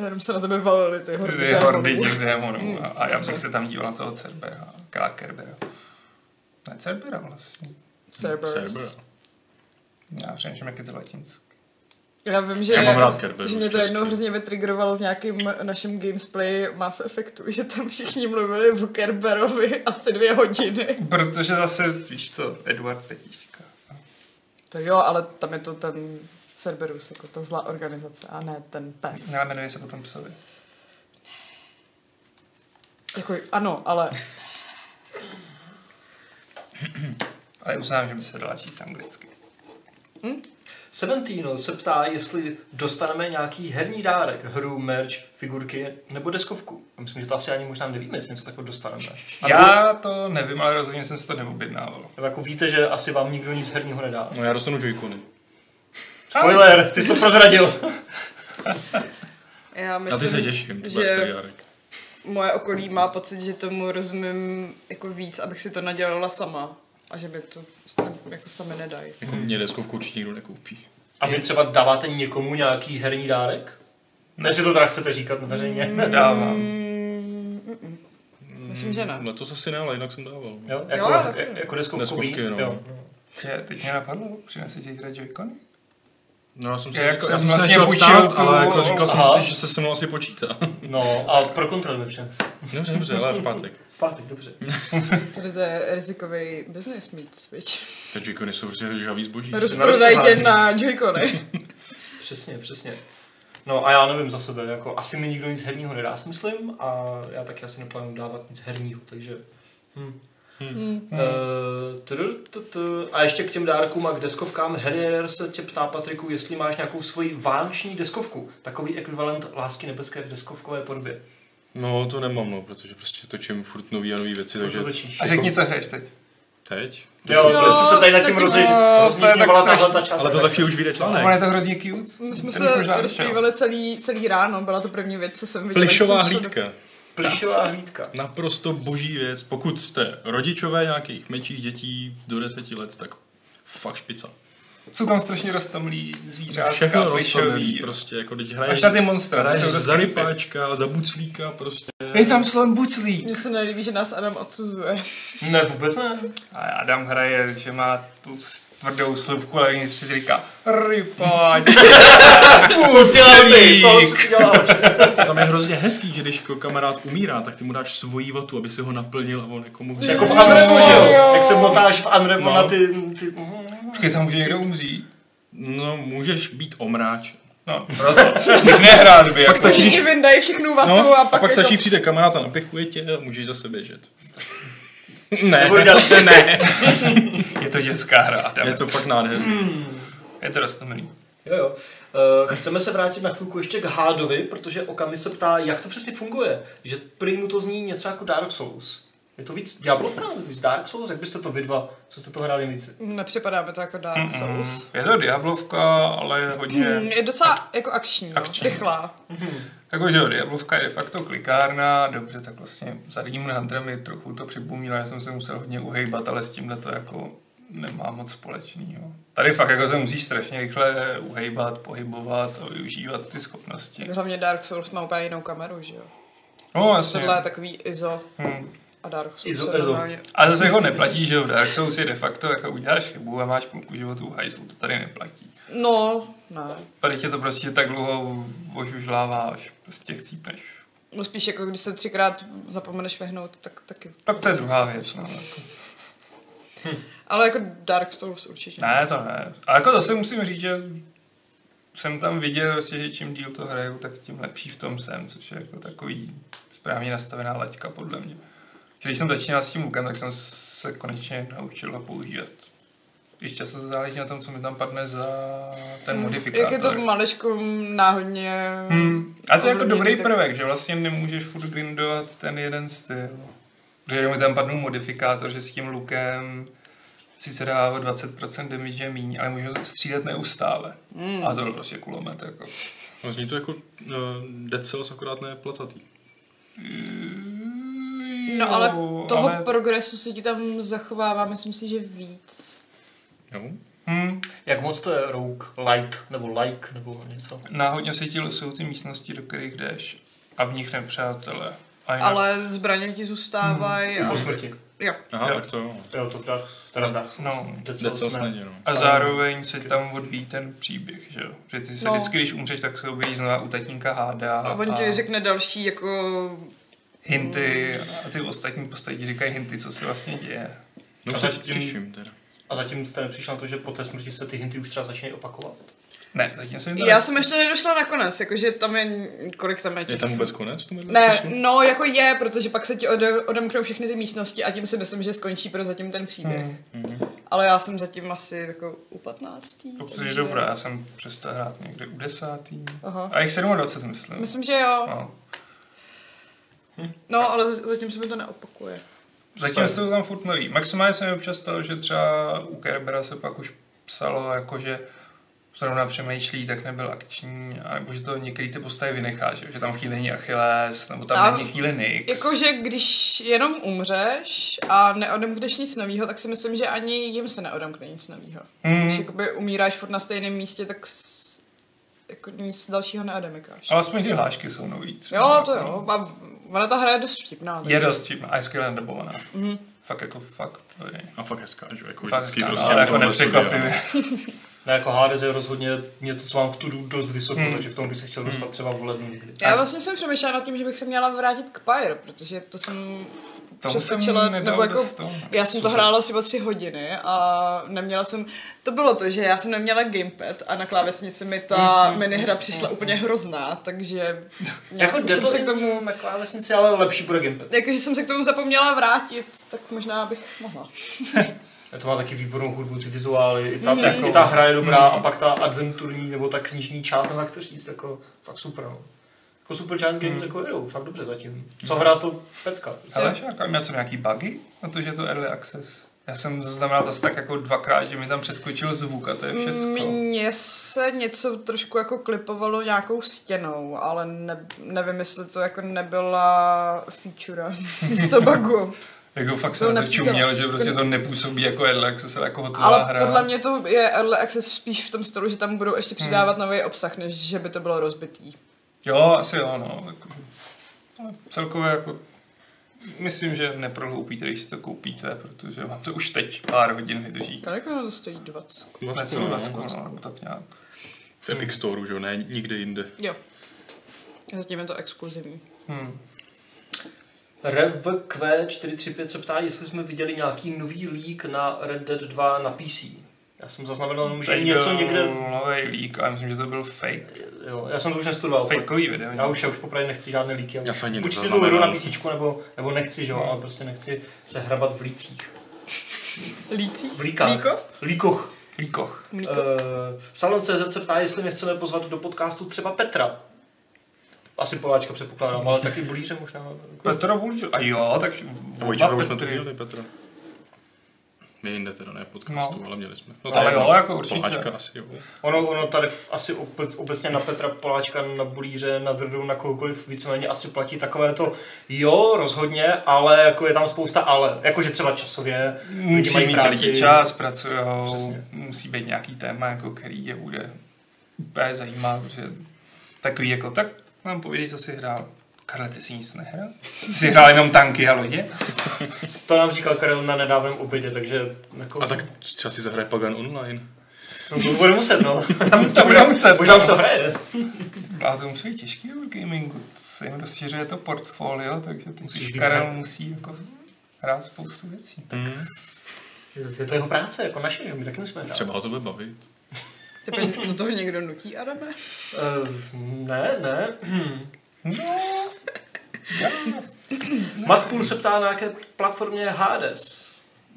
Jenom se na tebe valily ty hordy. ty démonů. hordy těch Hmm. démonů. A, a já bych se tam díval na toho Cerbera, Kala Kerbera. Ne, Cerbera vlastně. Cerberus. Cerber. Já přemýšlím, jak je to latinské. Já vím, že, Já mám rád Kerberu že z mě to Česka. jednou hrozně vytrigrovalo v nějakém našem gamesplay Mass Effectu, že tam všichni mluvili o Kerberovi asi dvě hodiny. Protože zase, víš co, Eduard Petíška. To jo, ale tam je to ten Cerberus, jako ta zlá organizace, a ne ten pes. Já jmenuje se potom psovi. Jako, ano, ale Ale uznám, že by se dala číst anglicky. Seventino se ptá, jestli dostaneme nějaký herní dárek, hru, merch, figurky nebo deskovku. A myslím, že to asi ani možná nevíme, jestli něco takového dostaneme. A nebo, Já to nevím, ale rozhodně jsem si to neobjednával. nebo jako víte, že asi vám nikdo nic herního nedá. No já dostanu joycony. Spoiler, ty jsi to prozradil. já myslím, Na ty se těším, to bude že- skvělý Jarek. moje okolí má pocit, že tomu rozumím jako víc, abych si to nadělala sama. A že mi to jako sami nedají. Jako mě deskovku určitě nikdo nekoupí. A vy třeba dáváte někomu nějaký herní dárek? Ne, si to teda chcete říkat veřejně. Nedávám. Mm, mm, mm. Myslím, že ne. No to zase ne, ale jinak jsem dával. no. Jo, Jo, jako, jo, jo, jako deskovku Deskovky, Wii, no. jo. Je, teď mě napadlo, přinesu ti teda joy No já jsem se, Já jako- já já jsem jsem se vlastně nechtěl půjčil ptát, tu- ale jako říkal jsem Aha. si, že se se mnou asi počítá. No a pro kontrol mi přines. Dobře, dobře, ale v pátek. V pátek, dobře. Tady to je rizikový business mít Switch. Ty joycony jsou prostě žhavý zboží. Rozprodaj tě na Joy-Cony. Přesně, přesně. No a já nevím za sebe, jako asi mi nikdo nic herního nedá, si myslím, a já taky asi neplánuju dávat nic herního, takže... Hm. Hm. Eh, tr- tr- tr- A ještě k těm dárkům a k deskovkám. Herier se tě ptá, Patriku, jestli máš nějakou svoji vánoční deskovku. Takový ekvivalent Lásky nebeské v deskovkové podobě. No to nemám, no, protože prostě točím furt nový a nový věci, Takže... takže Jako- To točíš. A řekni, co hraješ teď. Teď? Jo, Jo, to se tady nad tím taky- rozhodně Jo, to je rozhodně tak tahle ta strašný. část. Ale to za chvíli už vyjde článek. Ono je to hrozně cute. My jsme Ten už se možná rozplývali celý, celý ráno, byla to první věc, co jsem viděla. když Plišová jsem šla do- hlídka. Plišová hlídka. Naprosto boží věc. Pokud jste rodičové nějakých menších dětí do deseti let, tak fakt špica. začal. Jsou tam strašně roztomlý Všechno zvířátka, roztomilý, plišový. prostě jako když hraješ, Až na ty monstra, ty hraješ jsou dost za creepy. rypáčka, za buclíka, prostě. Je tam slon buclík. Mně se nelíbí, že nás Adam odsuzuje. Ne, vůbec ne. A Adam hraje, že má tu tvrdou slupku, ale vnitř si říká rypáč. To jsi dělal ty, to co jsi dělal. Tam je hrozně hezký, že když jako kamarád umírá, tak ty mu dáš svoji vatu, aby si ho naplnil a on jako mu Jako v Jo. Unrevu, že jo? Jo. Jak se motáš v Unrevu No. na ty... ty... Počkej, tam může někdo umřít. No, můžeš být omráč. No, proto. Když nehrát by. Pak Jako. stačí, když... Všichni vyndají všechnu vatu No, a pak, jako- stačí, přijde kamarád a napichuje tě a můžeš zase běžet. ne, Nebudu dělat to ne. Je to dětská hra, Adam. Je to fakt nádherný. je to roztomilý. Jo, jo. Eh, Chceme se vrátit na chvilku ještě k Hádovi, protože Okami se ptá, jak to přesně funguje. Že prý mu to zní něco jako Dark Souls. Je to víc Diablovka nebo víc Dark Souls? Jak byste to vy dva, co jste to hráli víc? Nepřipadá mi to jako Dark Souls. Je to Diablovka, ale Mm, je hodně... Mm, je docela jako akční, no. akční. rychlá. Jako, že jo, Diablovka je de facto klikárna, dobře, tak vlastně za Demon Hunterem mi trochu to připomíná, že jsem se musel hodně uhejbat, ale s tímhle to jako nemá moc společného. Tady fakt jako se musíš strašně rychle uhejbat, pohybovat a využívat ty schopnosti. Tak Hlavně Dark Souls má úplně jinou kameru, že jo. No jasně. Tohle je takový ISO Hm. a Dark Souls. ISO, je ESO. normálně- A zase jako neplatí, že jo, v Dark Souls je de facto, jako uděláš chybu a máš půlku životu v hajzlu, to tady neplatí. No, ne. Tady tě to prostě tak dlouho ožužlává, až prostě chcípneš. No spíš jako když se třikrát zapomeneš vehnout, tak taky. Tak to je druhá věc, no. Jako. Ale jako Dark Souls určitě. Ne, to ne. A jako zase musím říct, že jsem tam viděl, prostě, že čím díl to hraju, tak tím lepší v tom jsem, což je jako takový správně nastavená laťka podle mě. Že Když jsem začínal s tím lukem, tak jsem se konečně naučil ho používat. Když často to záleží na tom, co mi tam padne za ten Mm, Hmm. Jak modifikátor. je to maličko mm, náhodně... Hmm. A to je jako ovlivněný, dobrý tak- prvek, že vlastně nemůžeš furt grindovat ten jeden styl. Protože jenom mi tam padnul modifikátor, že s tím lukem sice dá o 20% damage míň, ale může střílet neustále. Hmm. A to byl prostě kulomet, jako. No, zní to jako uh, Dead Cells, akorát ne platatý. No ale Jo, toho ale- progresu se ti tam zachovává, myslím si, že víc. Jo? Hm, Jak moc to je Rogue Light nebo Like nebo něco? náhodně se ti jsou ty místnosti, do kterých jdeš. A v nich nepřátelé. A jinak- Ale zbraně ti zůstávají Hmm. Po a... Jako smrti. Jo. Aha, Jo. tak to jo. Jo, to v Dark Souls. Teda v Dark Souls. No, v Dead Dead Cells Cells ne. není, no. A zároveň se tam odbíjí ten příběh, že jo? Že ty se No. vždycky, když umřeš, tak se objeví znova u tatínka hádá. A on ti řekne další jako hinty a ty ostatní postavy ti říkají hinty, co se vlastně děje. No A se zatím- těším teda. A zatím jste nepřišli na to, že po té smrti se ty hinty už třeba začínají opakovat? Ne, zatím se mi to Já nes- jsem ještě nedošla na konec, jakože tam je, kolik tam je těch... Je tam vůbec konec v tom jednom Ne, času? no jako je, protože pak se ti ode, odemknou všechny ty místnosti a tím si myslím, že skončí pro zatím ten příběh. Hmm. Ale já jsem zatím asi jako u 15. To je dobrá, já jsem přestal hrát někde u desátý. Aha. A jich 27, myslím. Myslím, že jo. No. No, ale z- zatím se mi to neopakuje. Zatím jsou tam furt nový. Maximálně se mi občas stalo, že třeba u Kerbera se pak už psalo, jako že zrovna přemýšlí, tak nebyl akční, nebo že to některý ty postavy vynechá, že, že tam chvíli není Achilles, nebo tam A- jako, není chvíli Nix. Jakože když jenom umřeš a neodemkneš nic nového, tak si myslím, že ani jim se neodemkne nic nového. Hmm. Když jakoby umíráš furt na stejném místě, tak s, jako nic dalšího neodemykáš. Ale aspoň ty hlášky jsou nový. třeba. Jo, to jo. A v- ona ta hra je dost vtipná. tak- Je dost vtipná, a je skvěle dabovaná. Mhm. Fakt jako fakt dobrý. A fakt hezká, že jo, jako Fakt, vždycky ano, prostě. ale na jako tomhle studiu. nepřekvapivě. Ne, jako Hades je rozhodně něco, co mám v tu dost vysoko, hmm. takže k tomu bych se chtěl dostat třeba v lednu někdy. Já vlastně jsem přemýšlela nad tím, že bych se měla vrátit k Pyre, protože to jsem Tomu přeskočila, jsem nedal nebo jako, dost toho. já jsem to hrála třeba tři hodiny a neměla jsem, to bylo to, že já jsem neměla gamepad a na klávesnici mi ta minihra přišla úplně hrozná, takže nějak Jako jako jde jsem to se k tomu, na klávesnici, ale lepší pro gamepad. jakože jsem se k tomu zapomněla vrátit, tak možná bych mohla. To má taky výbornou hudbu, ty vizuály, i ta, Hmm. mm-hmm. i ta hra je dobrá, mm-hmm. a pak ta adventurní nebo ta knižní část, nebo jak to říct, jako fakt super. No. Jako super giant Hmm. games, mm. jako jedou, fakt dobře zatím. Co hrá to pecka. jako Ale já jsem nějaký buggy na to, že je to early access. Já jsem zaznamenal asi tak jako dvakrát, že mi tam přeskočil zvuk a to je všecko. Mně se něco trošku jako klipovalo nějakou stěnou, ale ne, nevím, jestli to jako nebyla feature místo bugu. Jako fakt Byl jsem na to nepřítel. čuměl, že prostě to nepůsobí jako Early Access, ale jako hotová Ale hra. podle mě to je early access spíš v tom stylu, že tam budou ještě přidávat hmm. nový obsah, než že by to bylo rozbitý. Jo, asi jo, no. tak- Ale celkově jako myslím, že neprohloupíte, když si to koupíte, protože vám to už teď pár hodin vydrží. Kolik ono to stojí? 20? Necelou dvacku, no, nebo tak nějak. V Epic Store, že jo, ne nikde jinde. Jo. Zatím je to exkluzivní. Hmm. RevQ435 se ptá, jestli jsme viděli nějaký nový leak na Red Dead 2 na PC. Já jsem zaznamenal, že Teď něco byl někde... Nový lík, ale myslím, že to byl fake. Jo, já jsem to už nestudoval. Fakeový video. Já už, já už popravdě nechci žádné líky. Já Já už, to ani buď si tu nezaznamenám. hru na PC, nebo, nebo nechci, že jo, ale prostě nechci se hrabat v lících. Lící? V líkách. Líko? Líkoch. Líkoch. Mlíko. Uh, Uh, Salon CZ se ptá, jestli nechceme pozvat do podcastu třeba Petra. Asi Poláčka předpokládám, ale taky Bulíře možná. Petra Bulíčo. A jo, tak... Dvojčka oba už jsme to Petry. měli, Petra. My jinde teda, ne podcastu, No. no. ale měli jsme. Ale to je jo, jedno. jako určitě. Poláčka asi, jo. Ono, ono tady asi obec, obecně na Petra Poláčka, na Bulíře, na Drdu, na kohokoliv víceméně asi platí takové to jo, rozhodně, ale jako je tam spousta ale. Jakože třeba časově, lidi Musí mají mít práci. lidi čas, pracujou, Přesně. musí být nějaký téma, jako který je bude úplně zajímá, protože takový jako, tak nám povědej, co jsi hrál. Karle, ty si nic nehrál? Ty jsi hrál jenom tanky a lodě? To nám říkal Karel na nedávném obědě, takže jako, A tak třeba si zahraje Pagan online. no, to bude muset, no. To bude muset. Možná no. už to hraje. A to musí být těžký v gamingu, to se jim rozšiřuje to portfolio, takže ten Musíš víc Karel hrát. musí jako hrát spoustu věcí. Hmm. Je to jeho práce, jako naše, že my taky musíme hrát. Třeba ho to bude bavit. Tebe do toho někdo nutí, Adame? Uh, ne, ne. Hm. No, já- Matpůl se ptá na jaké platformě Hades.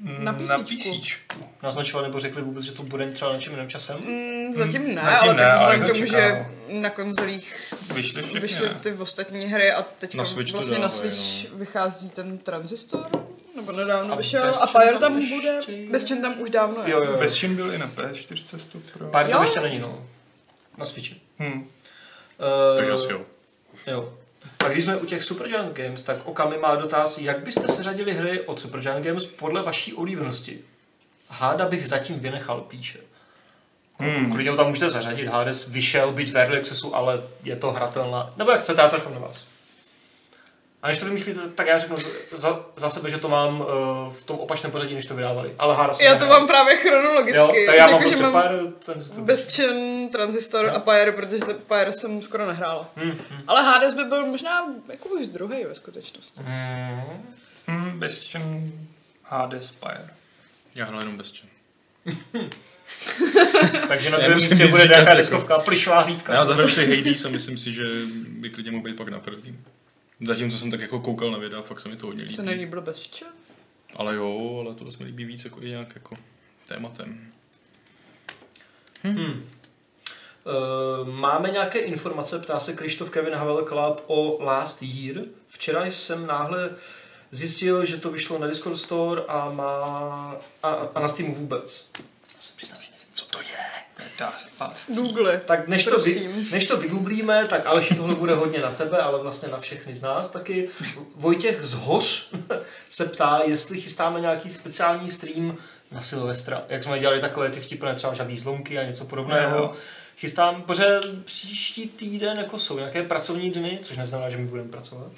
Na na písíčku. písíčku. Naznačoval nebo řekli vůbec, že to bude třeba něčím jiným časem? Mm, zatím ne, zatím ale no. ne, tak ale vzhledem k kdo tomu, že čekal? na konzolích Vyšly všechny, vyšly ne? ty ostatní hry a teď Na Switch to vlastně na dávají, Switch vychází ten transistor, nebo nedávno no. A a vyšel, bez a čem Fire tam tam ještě bude, je? bez čem tam už dávno je. Jo, jo, jo. Bez čin byl i na P4 pro... Pár Jo. to ještě není, no. Na Switchi. Hm. Uh, Takže asi jo. jo. A když jsme u těch Supergiant Games, tak Okami má dotaz, jak byste seřadili hry od Supergiant Games podle vaší oblíbenosti? Háda bych zatím vynechal, píše. hm, Hmm. Klidně ho tam můžete zařadit, Hades vyšel, byť v Early Accessu, ale je to hratelná. Nebo jak chcete, já to nechám na vás. A než to vymyslíte, tak já řeknu za, za sebe, že to mám uh, v tom opačném pořadí, než to vydávali. Ale Hades Já to nehrál. mám právě chronologicky. Jo, tak já Jako, mám že prostě mám pár... Ten, Bezčen, Transistor a Pyre, protože to Pyre jsem skoro nehrála. Hmm. Mm-hmm. Ale Hades by byl možná jako už druhý ve skutečnosti. Mm. Hmm, Bastion HD Spire. Já hraju jenom bez čem. Takže na Já druhém musím místě víc bude říkat, nějaká jako. deskovka, plišová hlídka. Já zahraju si Hades a myslím si, že by klidně mohl být pak na prvním. Zatímco jsem tak jako koukal na videa, fakt se mi to hodně Se líbí. nelíbilo Bezčen? Ale jo, ale tohle se mi líbí víc jako i nějak jako tématem. Eh, máme nějaké informace, ptá se Krištof Kevin Havel Club o Last Year. Včera jsem náhle zjistil, že to vyšlo na Discord Store a, má, a, a na Steamu vůbec. Já se přiznám, že nevím, co to je. To je Dark Past. Google. Tak než to, vy, Prosím. než to vygooglíme, tak Aleši tohle bude hodně na tebe, ale vlastně na všechny z nás taky. Vojtěch z Hoř se ptá, jestli chystáme nějaký speciální stream na Silvestra. Jak jsme dělali takové ty vtipné třeba žádný zlomky a něco podobného. Jo. Chystám, protože příští týden jako jsou nějaké pracovní dny, což neznamená, že my budeme pracovat.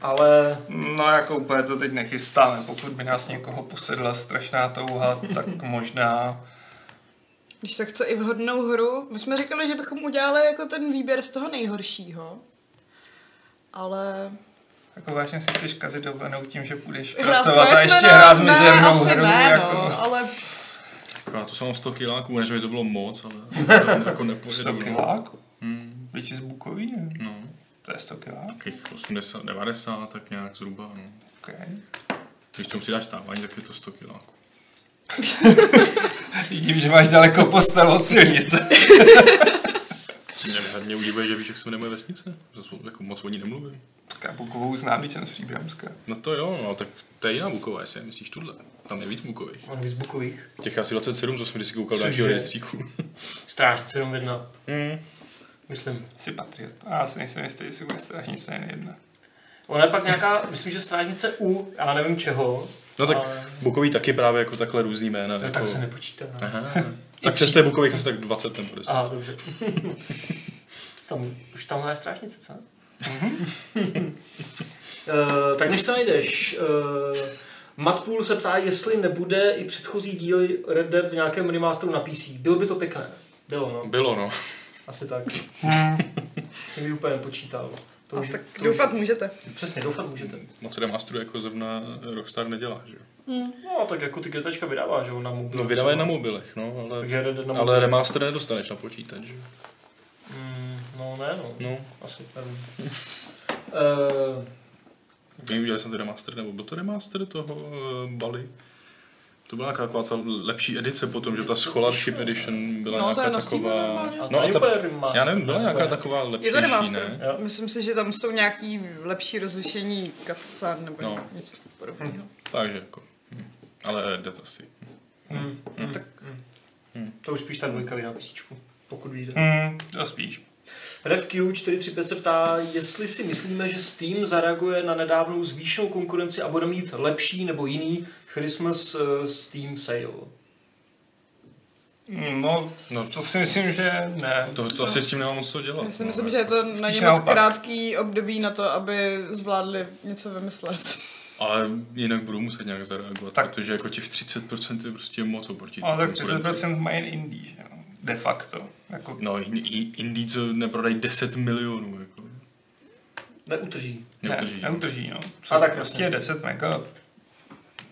ale No jako úplně to teď nechystáme, pokud by nás někoho posedla strašná touha, tak možná... Když to chce i vhodnou hru, my jsme říkali, že bychom udělali jako ten výběr z toho nejhoršího. Ale... Jako vážně si chceš kazit dovolenou tím, že budeš Hrát pracovat a Quake ještě Mena? hrát mizernou ne, asi hru. ne, jako, no, ale Jako já to jsem mám 100 kiláků, než by to bylo moc, ale jako nepojedu. 100 kiláků? Hmm, Větší Hm, z Bukoví? ne? no, To je 100 kilák? takých 80, 90, tak nějak zhruba, no. Okay. Když tomu přidáš stávání, tak je to 100 kiláků. Vidím, že máš daleko postel od silnice. Mě, mě udivuje, že víš, jak se jmenuje moje vesnice. Zas, jako moc o ní nemluvím. Bukovská. Bukovou znám, když jsem z Příbramska. No to jo, no, tak to je jiná buková, jestli myslíš tuhle. Tam je víc bukových. On z Bukových. Těch asi 27, co jsem když si koukal do Cože? nějakého rejstříku. Stráž 7-1. Myslím. Jsi patriot. A já si nejsem jistý, jestli bude strážnice jen jedna. Ona je pak nějaká, myslím, že strážnice U, já nevím čeho. No tak ale- bukový taky právě jako takhle různý jména. No, jako... tak se nepočítá. Aha, tak přesto je bukových asi tak 20 nebo 10. Aha dobře. tam, už tamhle je strážnice, co? Mhm. Eh, tak než to najdeš, uh, Matpool se ptá, jestli nebude i předchozí díly Red Dead v nějakém remasteru na PC. Bylo by to pěkné. Bylo, no. Bylo no. Asi tak. Jsem ji úplně nepočítal. To A už, tak to už- doufat můžete. Přesně, doufat můžete. Moc remasteru jako zrovna Rockstar nedělá, že jo? No, tak jako ty GTčka vydává, že jo, na mobil. No vydávají na mobilech, no, ale, Takže Red Dead na ale mobil. remaster nedostaneš na počítač, že jo? Mm, no ne, no. No, Asi, nevím. Eh, Nevím, udělali jsem to remaster, nebo byl to remaster toho uh, Bali? To byla nějaká taková ta lepší edice potom, že ta Scholarship Edition byla No, to je nějaká na Steamu taková... normálně. A No to a je ta, úplně remaster, já nevím, byla ne? nějaká Úplně. taková Je to lepší, remaster. ne? Jo. Myslím si, že tam jsou nějaký lepší rozlišení cutscene nebo No. něco podobného. Takže jako... hm. Ale Red Dead asi. Mm, Hmm. mm, mm. To už spíš ta dvojka vydá písničku, pokud vyjde. Hmm, to spíš. RevQ435 se ptá, jestli si myslíme, že Steam zareaguje na nedávnou zvýšenou konkurenci a bude mít lepší nebo jiný Christmas eh, Steam sale. No, No, to si myslím, že ne. to, to asi s tím nemám moc co dělat. Já si no, myslím, jako. že je to na ně moc naopak. krátký období na to, aby zvládli něco vymyslet. Ale jinak budu muset nějak zareagovat, Tak. tak. protože jako těch 30% je prostě moc oproti Ale té tak konkurenci. 30% mají jen indie, že jo. De facto. Jako, No, in- in- indie, co neprodají 10 milionů, jako. Neutrží. Neutrží. Ne, neutrží, no. A tak vlastně. prostě 10 mega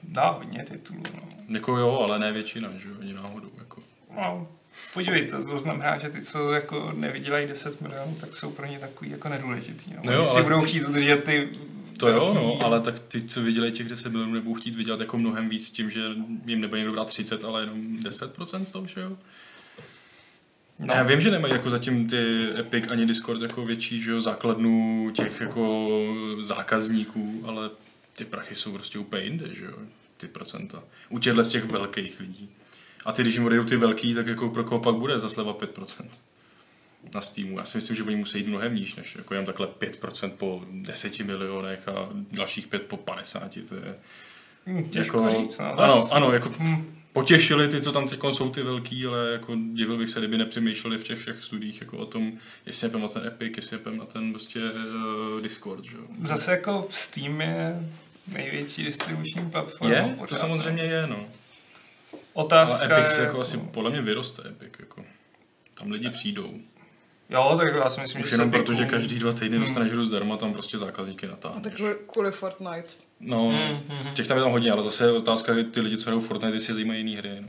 dá hodně titulů, no. Jako jo, ale ne většina, že jo, ani náhodou, jako. no. Podívejte, to znamená, že ty, co jako nevydělají 10 milionů, tak jsou pro ně takový jako nedůležitý. No. No jo, Oni si ale- budou chtít udržet ty To jo, no, velký- ale tak ty, co vydělají těch 10 milionů, nebudou chtít vydělat jako mnohem víc tím, že jim nebude někdo brát 30, ale jenom 10% z toho všeho. No. Já vím, že nemají jako zatím ty Epic ani Discord jako větší že jo, základnu těch jako zákazníků, ale ty prachy jsou prostě úplně jinde, že jo, ty procenta. U těchto z těch velkých lidí. A ty, když jim odejdou ty velký, tak jako pro koho pak bude ta sleva 5%? na Steamu. Já si myslím, že oni musí jít mnohem níž, než jako jenom takhle 5% po 10 milionech a dalších 5 po 50. To je Hm, těžko jako, říct, no. ano, ano, jako Hm, potěšili ty, co tam teď jsou ty velký, ale jako divil bych se, kdyby nepřemýšleli v těch všech studiích jako o tom, jestli je pem na ten Epic, jestli je pem na ten prostě uh, Discord, že jo. Zase jako Steam je největší distribuční platforma. Je? To pořád, samozřejmě je, no. no. Otázka Ale Epic se je- jako asi, podle mě vyroste Epic, jako. Tam lidi přijdou. Jo, tak já si myslím, Už že jenom se Hmm. Epicu- protože každý dva týdny dostaneš hru zdarma, tam prostě zákazníky A tak natáhneš. kvůli Fortnite. No, Hmm. mm, těch tam je tam hodně, ale zase je otázka, že ty lidi, co hrajou Fortnite, jestli je zajímají jiný hry. No.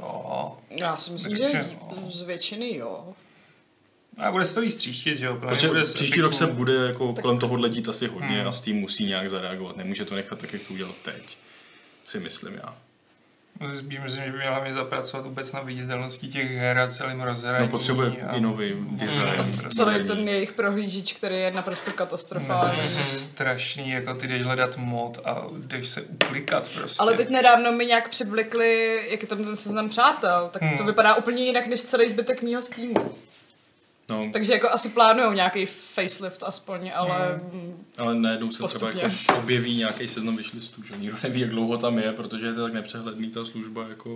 Jo. Já si myslím, Myslím, že že jo. z většiny jo. A bude se to víc tříštit, že jo? Podle mě Protože bude z Prostě příští Epicu- rok No, se bude jako tak... kolem toho dít asi hodně mm. a s tím musí nějak zareagovat. Nemůže to nechat tak, jak to udělal teď, si myslím já. No, Spíš myslím, že by měl hlavně zapracovat vůbec na viditelnosti těch her a celým rozhraní. No, potřebuje a- i nový design. Mm. Celý ten jejich prohlížič, který je No, naprosto to je katastrofální. strašný, jako ty jdeš hledat mod a jdeš se uklikat prostě. Ale teď nedávno mi nějak přiblekli, jak je tam ten seznam přátel, tak to Hmm. vypadá úplně jinak než celý zbytek mýho Steamu. No, Takže jako asi plánujou nějaký facelift aspoň, ale mm, ale najednou se Postupně. třeba jako objeví nějaký seznam vyšlistů, že jo? nikdo neví, jak dlouho tam je, protože je to tak nepřehledný ta služba, jako...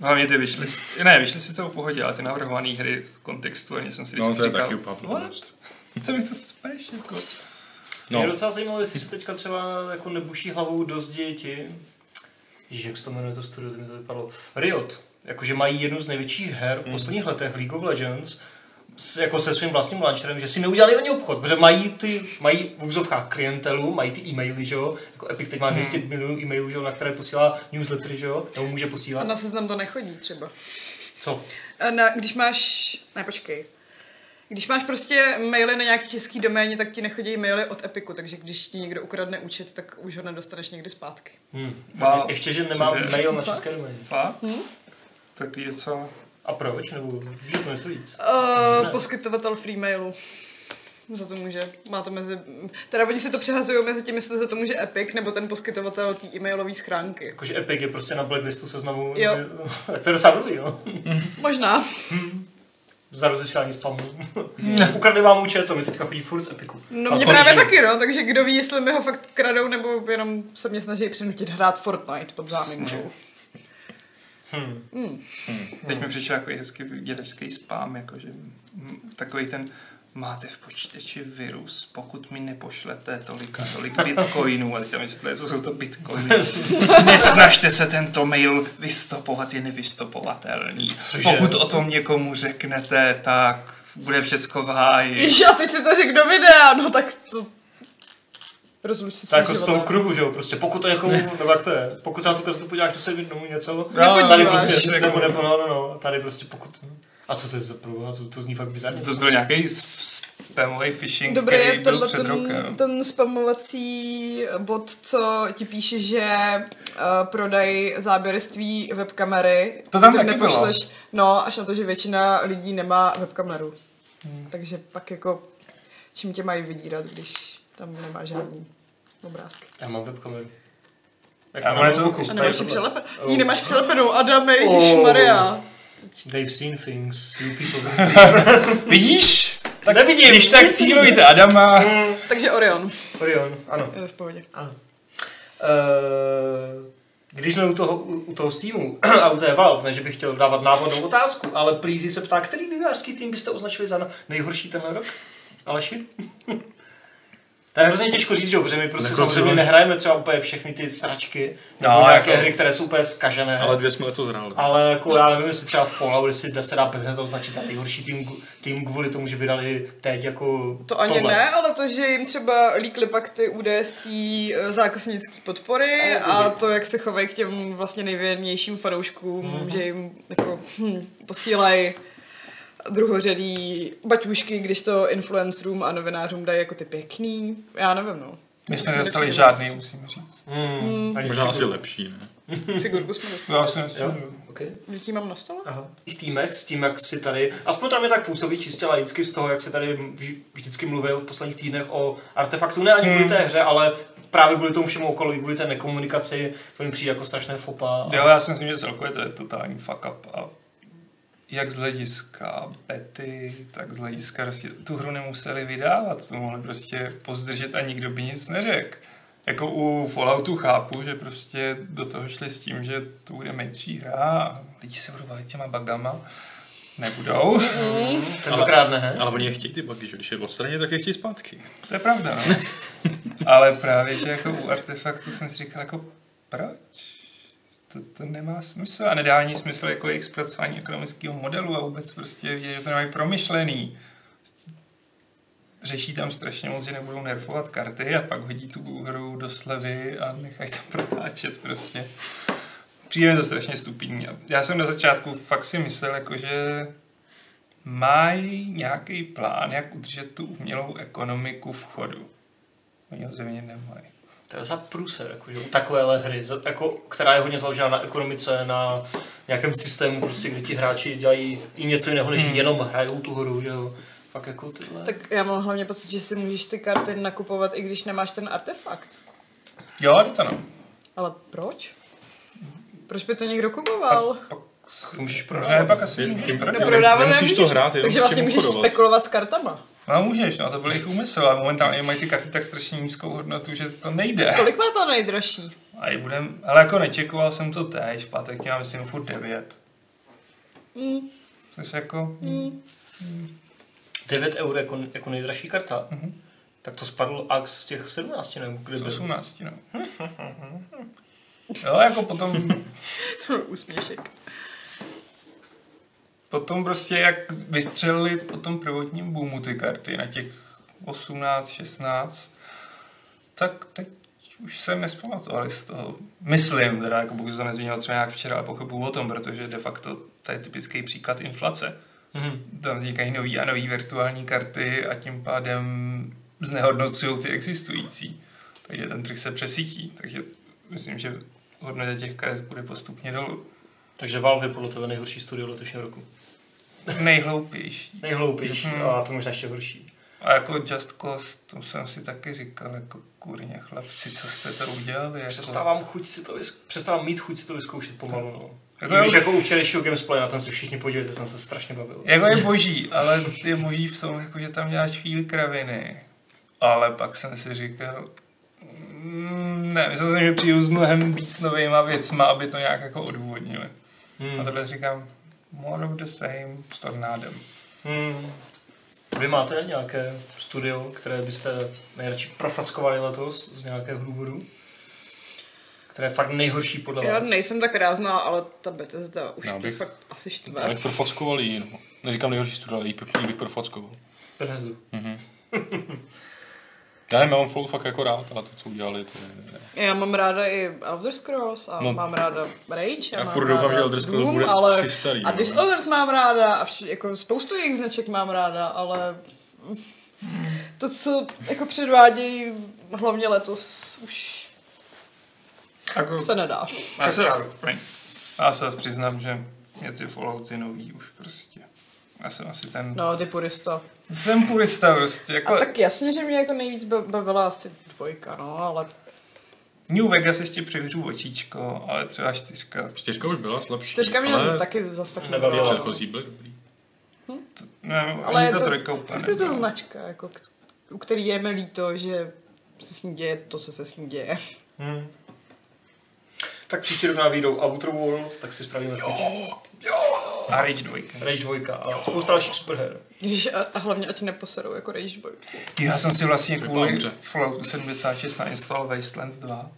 No, Hlavně ty vyšly, ne, vyšly si to v pohodě, ale ty navrhované hry v kontextu, ani jsem si No, vždycky to je říkal, taky "What? upápnost. Co mi to spíš, jako? No. Mě No, docela zajímalo, jestli se teďka třeba jako nebuší hlavou do děti. Ježíš, jak se to jmenuje to studio, to mi to vypadlo. Riot, jakože mají jednu z největších her Hmm. v posledních letech, League of Legends, s, jako se svým vlastním launcherem, že si neudělali ani obchod, protože mají ty, mají v úzovkách klientelu, mají ty e-maily, že jo, jako Epic teď má Hmm. 200 milionů e-mailů, že jo, na které posílá newslettery, že jo, nebo může a posílat. na seznam to nechodí třeba. Co? A Na, když máš, ne počkej, když máš prostě maily na nějaký český doméně, tak ti nechodí maily od Epiku, takže když ti někdo ukradne účet, tak už ho nedostaneš někdy zpátky. Hm. Wow. Ještě, že nemám Cože? mail na české doméně. Fakt? Tak je docela... A proč? Nebo že to nestojí víc? Uh, Ne. poskytovatel free mailu. za to může, má to mezi, teda oni si to přehazují mezi tím, jestli za to může Epic, nebo ten poskytovatel té e-mailové schránky. Jakože Epic je prostě na blacklistu seznamu, Jo. tak to je docela dobrý, jo. Možná. Za rozešlání spamu. Hmm. Ukradli vám účet, to mi teďka chodí furt z Epiku. No A mě to právě končí. taky, no, takže kdo ví, jestli mi ho fakt kradou, nebo jenom se mě snaží přinutit hrát Fortnite pod záminkou. Teď mi přišel takový hezký vyděračský spám, jakože mm, takový ten máte v počítači virus, pokud mi nepošlete tolik a tolik bitcoinů, ale tam myslíte, co jsou to bitcoiny. Nesnažte se tento mail vystopovat, je nevystopovatelný. Cože? Pokud o tom někomu řeknete, tak bude všecko v háji. Ježiš, a ty si to řekl do videa, no tak to... Rozluč se Tak jako s z toho životem. kruhu, že jo, prostě pokud to někomu, nebo jak to je, pokud se na tu kazetu podíváš, to se jim domů něco, Nepodíváš. tady prostě, No, Jako- nebo nebo, no, no, no, tady prostě pokud, a co to je za průha, to, to zní fakt bizarně. To byl nějaký spamový phishing, Dobrý je který byl tenhle před ten, rokem. ten spamovací bod, co ti píše, že uh, prodají záběrství webkamery. To tam Ty taky No, až na to, že většina lidí nemá webkameru. Hmm. Takže pak jako, čím tě mají vydírat, když tam nemá žádný obrázky. Já mám webkameru. Jak Já na mám to- notebooku, A tady nemáš ji tohle. přelepenou. Oh. Jí nemáš přelepenou, Adame, Oh. Ježíš Maria. They've seen things, you people. Vidíš? tak nevidím, Když tak cílujte Adama. Takže Orion, Orion, ano. je v pohodě. Ano. Eh, Když jsme u toho, u u toho Steamu a u té Valve, ne, že bych chtěl dávat návodnou otázku, ale Plízy se ptá, který vývojářský tým byste označili za na- nejhorší tenhle rok? Aleši? To je hrozně těžko říct, že jo, protože my prostě Nekontroluji. samozřejmě nehrajeme třeba úplně všechny ty sračky, nebo No, nějaké jako- hry, které jsou úplně zkažené. Ale dvě jsme letos hráli. Ale jako já nevím, jestli třeba Fallout, jestli dá- se dá Bethesda označit za nejhorší tým, tým kvůli tomu, že vydali teď jako To ani tohle. ne, ale to, že jim třeba líkly pak ty údaje z té eh, zákaznické podpory a to, jak se chovají k těm vlastně nejvěrnějším fanouškům, Mhm. že jim jako, hm, posílají druhořadý baťušky, když to influencerům a novinářům dají jako ty pěkný. Já nevím, no. My jsme Jsme nedostali nepříjemní. žádný, musím říct. Hmm. Tak Možná jako- asi lepší, ne? Figurku jsme dostali. Já si myslím, Jo, že- okay. Děti mám na stole? Aha. V těch týmech s tím, jak si tady, aspoň tam je tak působí čistě laicky z toho, jak se tady vž- vždycky mluvil v posledních týdnech o artefaktu, ne ani kvůli té hře, ale právě kvůli tomu všemu okolí, kvůli té nekomunikaci, to jim přijde jako strašné fopa. Jo, já si myslím, že celkově to je totální fuck up a jak z hlediska bety, tak z hlediska prostě tu hru nemuseli vydávat, to mohli prostě pozdržet a nikdo by nic neřekl. Jako u Falloutu chápu, že prostě do toho šli s tím, že to bude menší hra a lidi se budou bavit těma bagama. Nebudou, Hmm. Tentokrát ne. Ale oni je chtějí ty bugy, že když je odstraní, tak je chtějí zpátky. to je pravda, no. Ale právě, že jako u Artefaktu jsem si říkal, jako proč? To, to nemá smysl a nedá ani smysl jako jejich zpracování ekonomického modelu a vůbec prostě vidět, že to nemají promyšlený. Řeší tam strašně moc, že nebudou nerfovat karty a pak hodí tu hru do slevy a nechají tam protáčet prostě. Přijde mi to strašně stupidní. A Já jsem na začátku fakt si myslel, jako že mají nějaký plán, jak udržet tu umělou ekonomiku v chodu. Oni ho zřejmě nemají. To je za průser, jako, že u takovéhle hry, za, jako, která je hodně založena na ekonomice, na nějakém systému, prostě, kde ti hráči dělají i něco jiného, než jenom hrajou tu hru, že jo. Fakt jako tyhle. Tak já mám hlavně pocit, že si můžeš ty karty nakupovat, i když nemáš ten artefakt. Jo, jde to no. Ale proč? Proč by to někdo A kupoval? pak to můžeš prodávat. pak asi Tím- můžeš tím- prodávat. tím- Neprodávat nemusíš to nemůžeš. hrát, jenom Takže s vlastně tím můžeš obchodovat. spekulovat s kartama. No můžeš, no to byl jejich úmysl, ale momentálně mají ty karty tak strašně nízkou hodnotu, že to nejde. Kolik má to nejdražší? A i budem, ale jako nečekoval jsem to teď, v pátek měla myslím furt 9. Mm. Což jako, 9 eur jako, jako nejdražší karta. Mhm. Tak to spadl Ax z těch 17, nebo kde z byl? 18, no. Jo, jako potom To byl úsměšek. Potom prostě jak vystřelili po tom prvotním boomu ty karty na těch 18, 16, tak teď už se nespamatovali z toho. Myslím, teda jako pokud se to nezměnilo třeba nějak včera, ale pochybuju o tom, protože de facto to je typický příklad inflace. Mhm. Tam vznikají nový a nový virtuální karty a tím pádem znehodnocují ty existující. Takže ten trh se přesítí, takže myslím, že hodnota těch karet bude postupně dolů. Takže Valve je podle tebe nejhorší studio letošního roku. Nejhloupější. Nejhloupější, Mhm. a to možná ještě horší. A jako Just Cause, to jsem si taky říkal, jako kurně chlapci, co jste to udělali? Jako... Přestávám, chuť si to vysk- přestávám mít chuť si to vyzkoušet pomalu. No. Jako I když já- jako u včerejšího gamesplay, na ten se všichni podívejte, jsem se strašně bavil. Jako je boží, ale je boží v tom, jako, že tam děláš chvíli kraviny. Ale pak jsem si říkal, mm, ne, myslel jsem, že přijdu s mnohem víc novýma věcma, aby to nějak jako odůvodnili. Hmm. A tohle říkám, more of the same s tornádem. Hmm. Vy máte nějaké studio, které byste nejradši profackovali letos z nějakého důvodu? Které je fakt nejhorší podle Já vás? nejsem tak rázná, ale ta Bethesda už No, Já mě bych- fakt asi štve. Já bych profockoval jí, no. Neříkám nejhorší studio, ale jí, jí bych profockoval. Bethesdu. Já nevím, já mám Flow fakt jako rád, ale to, co udělali, to je... Já mám ráda i Elder Scrolls a No. no. mám ráda Rage. Já a mám furt doufám, ráda že Elder Scrolls Doom, bude ale při starý, A no. Dishonored mám ráda a vš- jako spoustu jejich značek mám ráda, ale to, co jako předvádějí hlavně letos, už Jako, se nedá. já, se, Přečáru. promiň. já se zase přiznám, že mě ty Fallouty nový už prostě. Já jsem asi ten... No, ty purista. Jsem purista prostě, A jako... tak jasně, že mě jako nejvíc ba- bavila asi dvojka, no, ale New Vegas ještě přivřu očíčko, ale třeba čtyřka. Čtyřka už byla slabší, čtyřka mě ale taky zase tak nebavila. ty bavila. předchozí byly dobrý. Ne, Ale ale je ta to- trojka Fakt úplně je to nebyla. značka, jako, k- u který je mi líto, že se s ní děje to, co se s ní děje. Hmm. Tak příští rok nám vyjdou Outer Worlds, tak si spravíme feature. A Rage 2. Rage 2 a spousta dalších superher. Ježiš, a, a hlavně ať neposerou jako Rage dvojku. Já jsem si vlastně Vypadá kvůli dobře. Falloutu 76 nainstaloval Wastelands 2.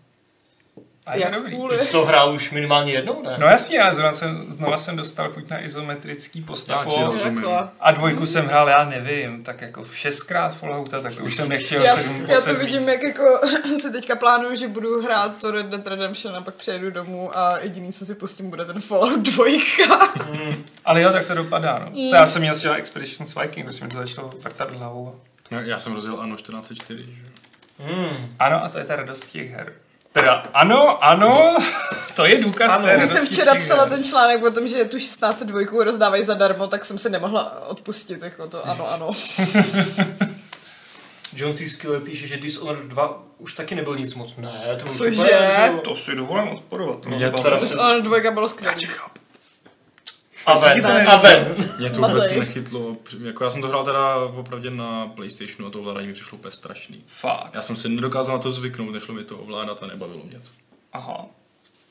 A je Jak jako- dobrý. kvůli- Ty jsi to hrál už minimálně jednou, ne? No jasně, já zrovna jsem, znova jsem dostal chuť na izometrický Já ti postapo. rozumím. Takhle. A dvojku jsem hrál, já nevím, tak jako šestkrát Fallouta, tak to už jsem nechtěl Já, sedm po já to sedmý. vidím, jak jako si teďka plánuju, že budu hrát to Red Dead Redemption a pak přejdu domů a jediný, co si pustím, bude ten Fallout 2. Ale jo, tak to dopadá, no. Mm. To já jsem měl si na Expeditions Viking, protože mi to začalo vrtat hlavou. Já, No, já jsem rozjel Ano 1404, že? jo. Hmm. Ano, a to je ta radost těch her. Teda ano, ano, to je důkaz Ano. té Když radosti jsem z včera těch psala her. ten článek o tom, že tu 16 dvojku rozdávají zadarmo, tak jsem se nemohla odpustit, jako to ano, ano. John C. Skiller píše, že Dishonored 2 už taky nebyl nic moc. Ne, to Cože? To si dovolím odporovat. no, To Mě mě teda- bavilo. Dishonored 2 bylo skvělé. A ven, a ven. Mě to Mazej. vůbec nechytlo. Při- Jako já jsem to hrál teda opravdě na Playstationu a to ovládání mi přišlo úplně strašný. Fakt. Já jsem si nedokázal na to zvyknout, nešlo mi to ovládat a nebavilo mě to. Aha.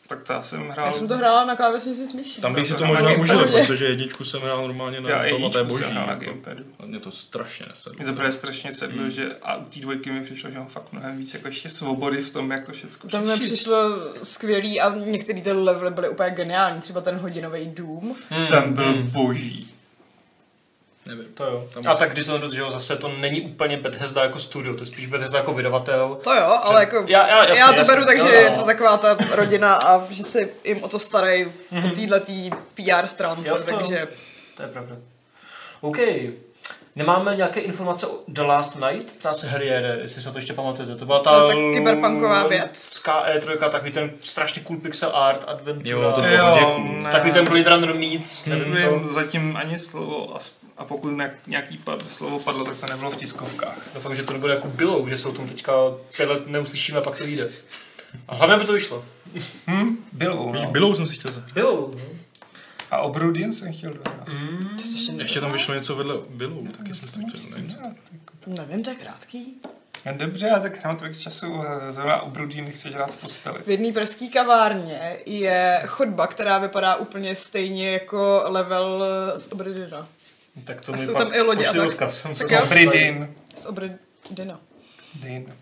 Tak to já jsem hrál. Já jsem to hrála na klávesnici s myší. Tam bych si to Na možná Gamepadu. užil, protože jedničku jsem hrál normálně Já na tom a to je jedničku jsem boží. hrál na jako. Hmm. Gamepadu. A mě to strašně nesedlo. Mě to právě strašně sedlo, že a u té dvojky mi přišlo, že mám fakt mnohem víc jako ještě svobody v tom, jak to všechno Tam mi přišlo skvělý a některé ty levely byly úplně geniální, třeba ten hodinový dům. Hmm, Ten byl boží. Nevím. To jo. Tam A už- tak Dishonored, že jo, zase to není úplně Bethesda jako studio, to je spíš Bethesda jako vydavatel. To jo, ale jako Já- já- jasně, já to jasně. beru tak, Jo, že jo. je to taková ta rodina a že se jim o to starají po téhletý PR stránce, Mhm. Jo, to jo. takže To je pravda. OK. Nemáme nějaké informace o The Last Night? Ptá se Harriere, jestli se to ještě pamatujete. To byla ta, To je tak kyberpunková věc. Ská E3, takový ten strašně cool pixel art, adventura. Jo, to bylo Hmm. Jo, hodně cool. ne. Takový ten Blade Runner meets, nevím Nevím co. zatím ani slovo a, s- a pokud na- nějaký pa- slovo padlo, tak to nebylo v tiskovkách. Doufám, že to nebude jako bylo, že jsou tom teďka pět let neuslyšíme a pak to vyjde. A hlavně by to vyšlo. Hm? Bylo, Víš, no. Bilou jsem si chtěl zahrát. Bylo. No. A Obrudin jsem chtěl dohrát. to jsi ještě Ještě tam vyšlo něco vedle Bilou, taky jsem si to chtěl, nevím co. nevím, to je krátký. No dobře, ale tak nemám tolik času, eh, zrovna Obrudin chce dělat v posteli. V jedné pražské kavárně je chodba, která vypadá úplně stejně jako level z Obredina. Tak to A mi jsou pak tam i lodi a pošli tak. odkaz. Jsem Tak se jo. Obridin. Z Obredina. Din.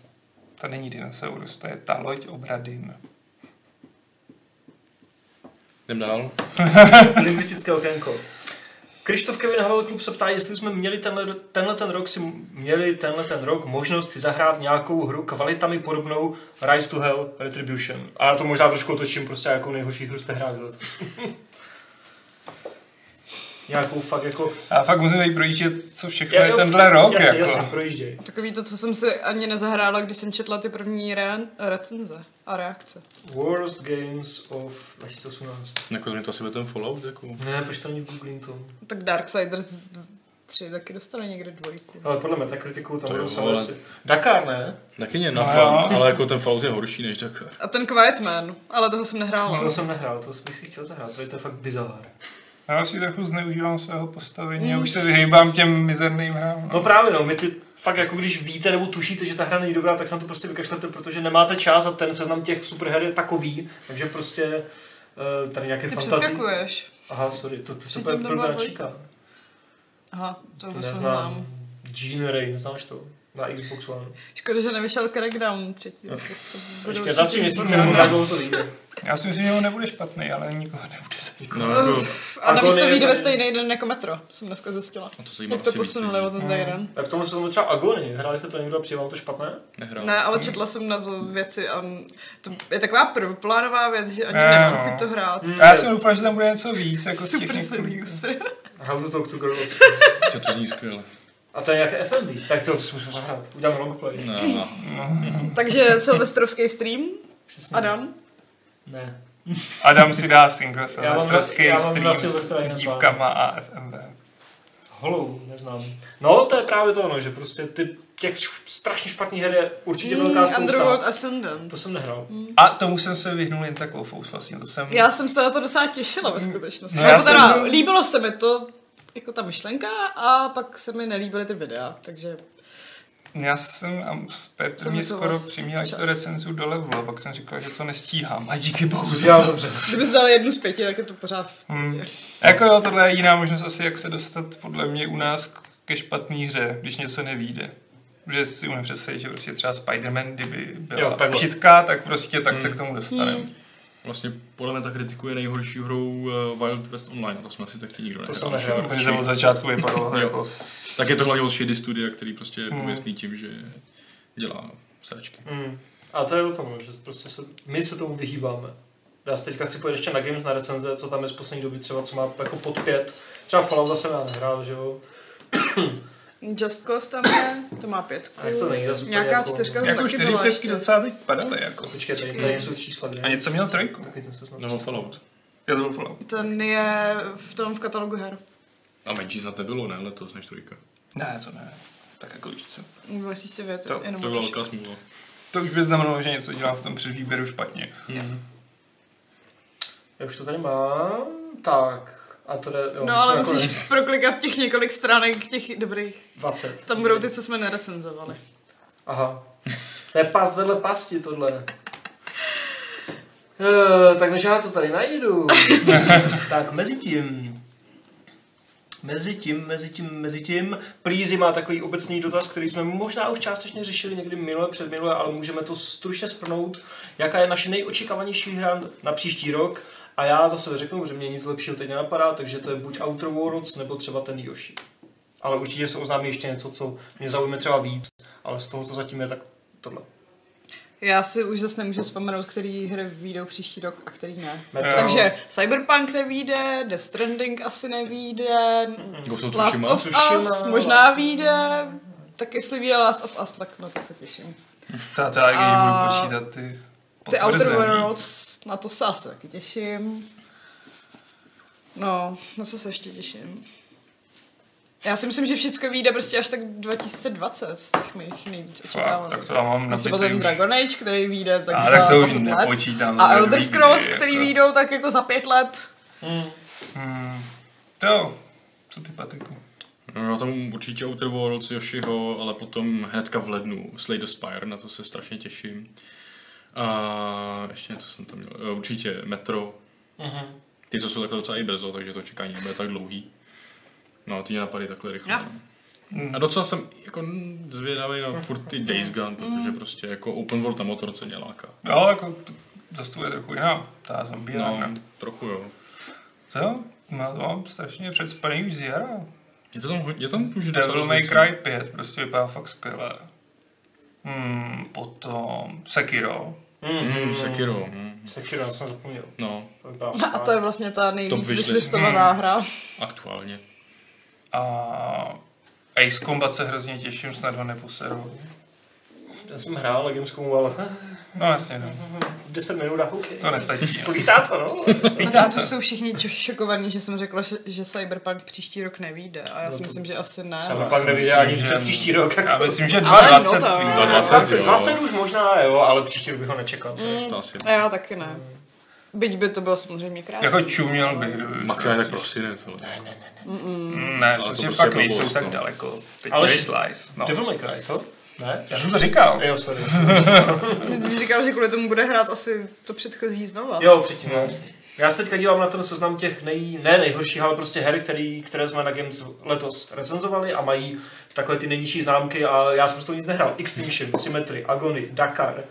To není dinosaurus, to je ta loď Obradin. Jdem dál. Lingvistické okénko. Krištof Kevin Havel Klub se ptá, jestli jsme měli tenhle, tenhle, ten rok si měli tenhle ten rok možnost si zahrát nějakou hru kvalitami podobnou Rise to Hell Retribution. A já to možná trošku otočím, prostě jako nejhorší hru jste hráli letos. Nějakou fakt jako... A fakt musím tady projíždět, co všechno je tenhle rok. Jasně, jako. jasně, projížděj. Takový to, co jsem si ani nezahrála, když jsem četla ty první re- recenze a reakce. Worst Games of 2018. Jako to mě to asi bude ten Fallout, jako. Ne, proč to není v Google to? Tak Darksiders tři, taky dostane někde dvojku. Ale podle Metacriticu tam To budou jo, samé ale- asi. Dakar, ne? Taky mě jo. napad, ale jako ten Fallout je horší než Dakar. A ten Quiet Man, ale toho jsem nehrála. No, No. To jsem nehrál, to bych si chtěl zahrát, to je to fakt bizár. Já si trochu zneužívám svého postavení Mm. a už se vyhýbám těm mizerným hrám. No právě no, my ty fakt jako když víte nebo tušíte, že ta hra není dobrá, tak se na to prostě vykašlete, protože nemáte čas a ten seznam těch superher je takový, takže prostě eh, tady nějaké Ty fantazí. přeskakuješ. Aha, sorry, to, to se Předtím bude to pro byla Bráčíka. Aha, to To vůbec neznám. neznám. Gene Ray, neznáš to? Na Xbox One. Škoda, že nevyšel Crackdown třetí. To to bude Počkej, za určitě- tři měsíce nám možná to vyjde. Já si myslím, že on nebude špatný, ale nikoho nebude zajímat. No, jako, Uf, A navíc to Agonie vyjde tady- ve stejný den jako metro, jsem dneska zjistila. a to se jim Jak to asi víc posunuli lidí. o ten týden. A v tomhle se třeba Agony, hráli jste to někdo a přijímal to špatné? No. Nehrál. Ne, ale četla jsem na to věci a to je taková prvoplánová věc, že ani Ne, nemám no. chuť to hrát. Hmm. A já jsem doufal, že tam bude něco víc, jako z těch Super několik- seducer. How to talk to girls. Tě to zní skvěle. A to je nějaké FNB, tak to, to si musím zahrát. Uděláme longplay. No, no. Takže silvestrovský stream, Přesně. Adam. Ne. Adam si dá single mám na- silvestrovský já mám na stream Silvestra s jeden dívkama a FMV. Holou, neznám. No, to je právě to ono, že prostě ty, těch š- strašně špatných her je určitě velká Mm, Underworld Hmm. spousta. Ascendant. To jsem nehrál. A tomu jsem se vyhnul jen tak loufou vlastně, to jsem... Já jsem se na to docela těšila ve skutečnosti. No, No, já jako teda, jsem- Líbilo se mi to, jako ta myšlenka, a pak se mi nelíbily ty videa, takže Já jsem, a s Pep Co mě mi to skoro vás- přiměl, ať čas. to recenzu dolevlo, a pak jsem říkal, že to nestíhám a díky bohu za Já to. dobře. kdyby dali jednu z pěti, tak je to pořád v Hmm. pohodě. Jako jo, tohle je jiná možnost asi, jak se dostat podle mě u nás k- ke špatný hře, když něco nevíde. Že si umím představit, že prostě třeba Spider-Man, kdyby Jo, byla takhle. šitka, tak prostě tak se k tomu dostaneme. Hmm. Vlastně podle mě ta kritiku je nejhorší hrou uh, Wild West Online, a to jsme asi taky nikdo nehrál. jsem nehrál. že? Protože to od začátku vypadalo Jo. jako... Tak je to hlavně od Shady Studia, který prostě je pověstný tím, že dělá sračky. Mm. A to je o tom, že prostě se, my se tomu vyhýbáme. Já se teďka chci pojít ještě na Games na recenze, co tam je z poslední doby třeba, co má jako pod pět. Třeba Fallout zase já nehrál, že jo? Just Cause tam je, to má pětku. A jak to není, zas úplně Nějaká jako- čtyřka tam Jako taky čtyři byla pětky ještě. docela teď padaly, jako. Počkej, tady, tady jsou čísla. kde- A něco měl trojku. Taky ten seznam Nebo čísel. Fallout. Já to byl Fallout. Ten je v tom v katalogu her. A menší snad nebylo, ne, letos než trojka. Ne, to ne. Tak jako víš co. Musíš si vědět, To- jenom To byla o velká smůla. To už by znamenalo, že něco dělám v tom předvýběru špatně. Já už to tady mám. Tak. A to jde, jo, No ale jako musíš proklikat těch několik stránek těch dobrých. 20. Tam budou ty, co jsme nerecenzovali. Aha. To je past vedle pasti tohle. Eh, tak než já to tady najdu. tak mezi tím. Mezi tím, mezi tím, mezi tím. Plízy má takový obecný dotaz, který jsme možná už částečně řešili někdy minule, předminule, ale můžeme to stručně sprnout. Jaká je naše nejočekávanější hra na příští rok? A já zase řeknu, že mě nic lepšího teď nenapadá, takže to je buď Outer Worlds, nebo třeba ten Yoshi. Ale určitě se oznámí ještě něco, co mě zaujme třeba víc, ale z toho, co zatím je, tak tohle. Já si už zase nemůžu vzpomenout, který hry vyjdou příští rok a který ne. Metro. Takže Cyberpunk nevíde, Death Stranding asi nevíde, Ghost of Last Tsushima. of Tsushima, Us Last možná vyjde, tak jestli vyjde Last of Us, tak na to se těším. Ta, ta, i když budu A- počítat ty Ty Outer potvrzený. Worlds, na to se asi taky těším. No, na co se ještě těším? Já si myslím, že všechno vyjde prostě až tak 2020 z těch mých nejvíc Fakt, očekávaných. tak to já mám A na třeba ten Dragon Age, který vyjde tak A za tak to už 20 let. nepočítám. A za Elder druhý, Scrolls, jako. který vyjdou tak jako za pět let. Hmm. To, co ty Patriku? No, já tam určitě Outer Worlds, Yoshiho, ale potom hnedka v lednu Slay the Spire, na to se strašně těším. A ještě něco jsem tam měl. Eh, Určitě Metro. Mhm. Ty, co jsou takhle docela i brzo, takže to čekání nebude tak dlouhý. No, ty mě napadly takhle rychle. Jo. No. A docela jsem jako mm, zvědavý na furt ty Days Gone, protože prostě jako open world na motorce mě láká. Jo, jako t- zase to je trochu jiná, ta zombie. No, No. trochu jo. Co? No, to mám strašně předspaný už z jara. Je to tam, ho- je tam už docela Devil May rozvěcí. Cry 5, prostě vypadá fakt skvěle. Hmm, potom Sekiro. Hmm, Hmm, Mm, Sekiro. Mm. Sekiro, jsem zapomněl. No, To vypadá A to je vlastně ta Top nejvíc wishlist. vyšlistovaná hra. aktuálně. A Ace Combat se hrozně těším, snad ho neposeru. Ten jsem hrál, Legion zkoumal No jasně, no. 10 "Hm, minut a OK. to nestačí. jo. Polítá to, no. A to jsou všichni čo- šokovaní, že jsem řekla, že, že Cyberpunk příští rok nevíde. A já si myslím, že asi ne. Sám já pak si nevyjde myslím, ani že- před příští rok. Já myslím, že Ale 20 no to- vyjde. 20, 20, jo. 20 už možná, jo, ale příští rok bych ho nečekal. Mm. To asi A já taky ne. Byť by to bylo samozřejmě krásné. Jako čuměl bych. kdyby- Maximálně tak prostě. prosinec, ale Ne, to prostě prostě fakt je blbost, nejsou tak no. daleko. Teď Ale- ale slice. No. Devil May Cry, co? Ne? Já jsem to říkal. Jo, sorry. Ty říkal, že kvůli tomu bude hrát asi to předchozí znova. Jo, předtím. No. Já se teďka dívám na ten seznam těch nej, ne nejhorších, ale prostě her, který, které jsme na Games letos recenzovali a mají takové ty nejnižší známky a já jsem z toho nic nehrál. Extinction, Symmetry, Agony, Dakar,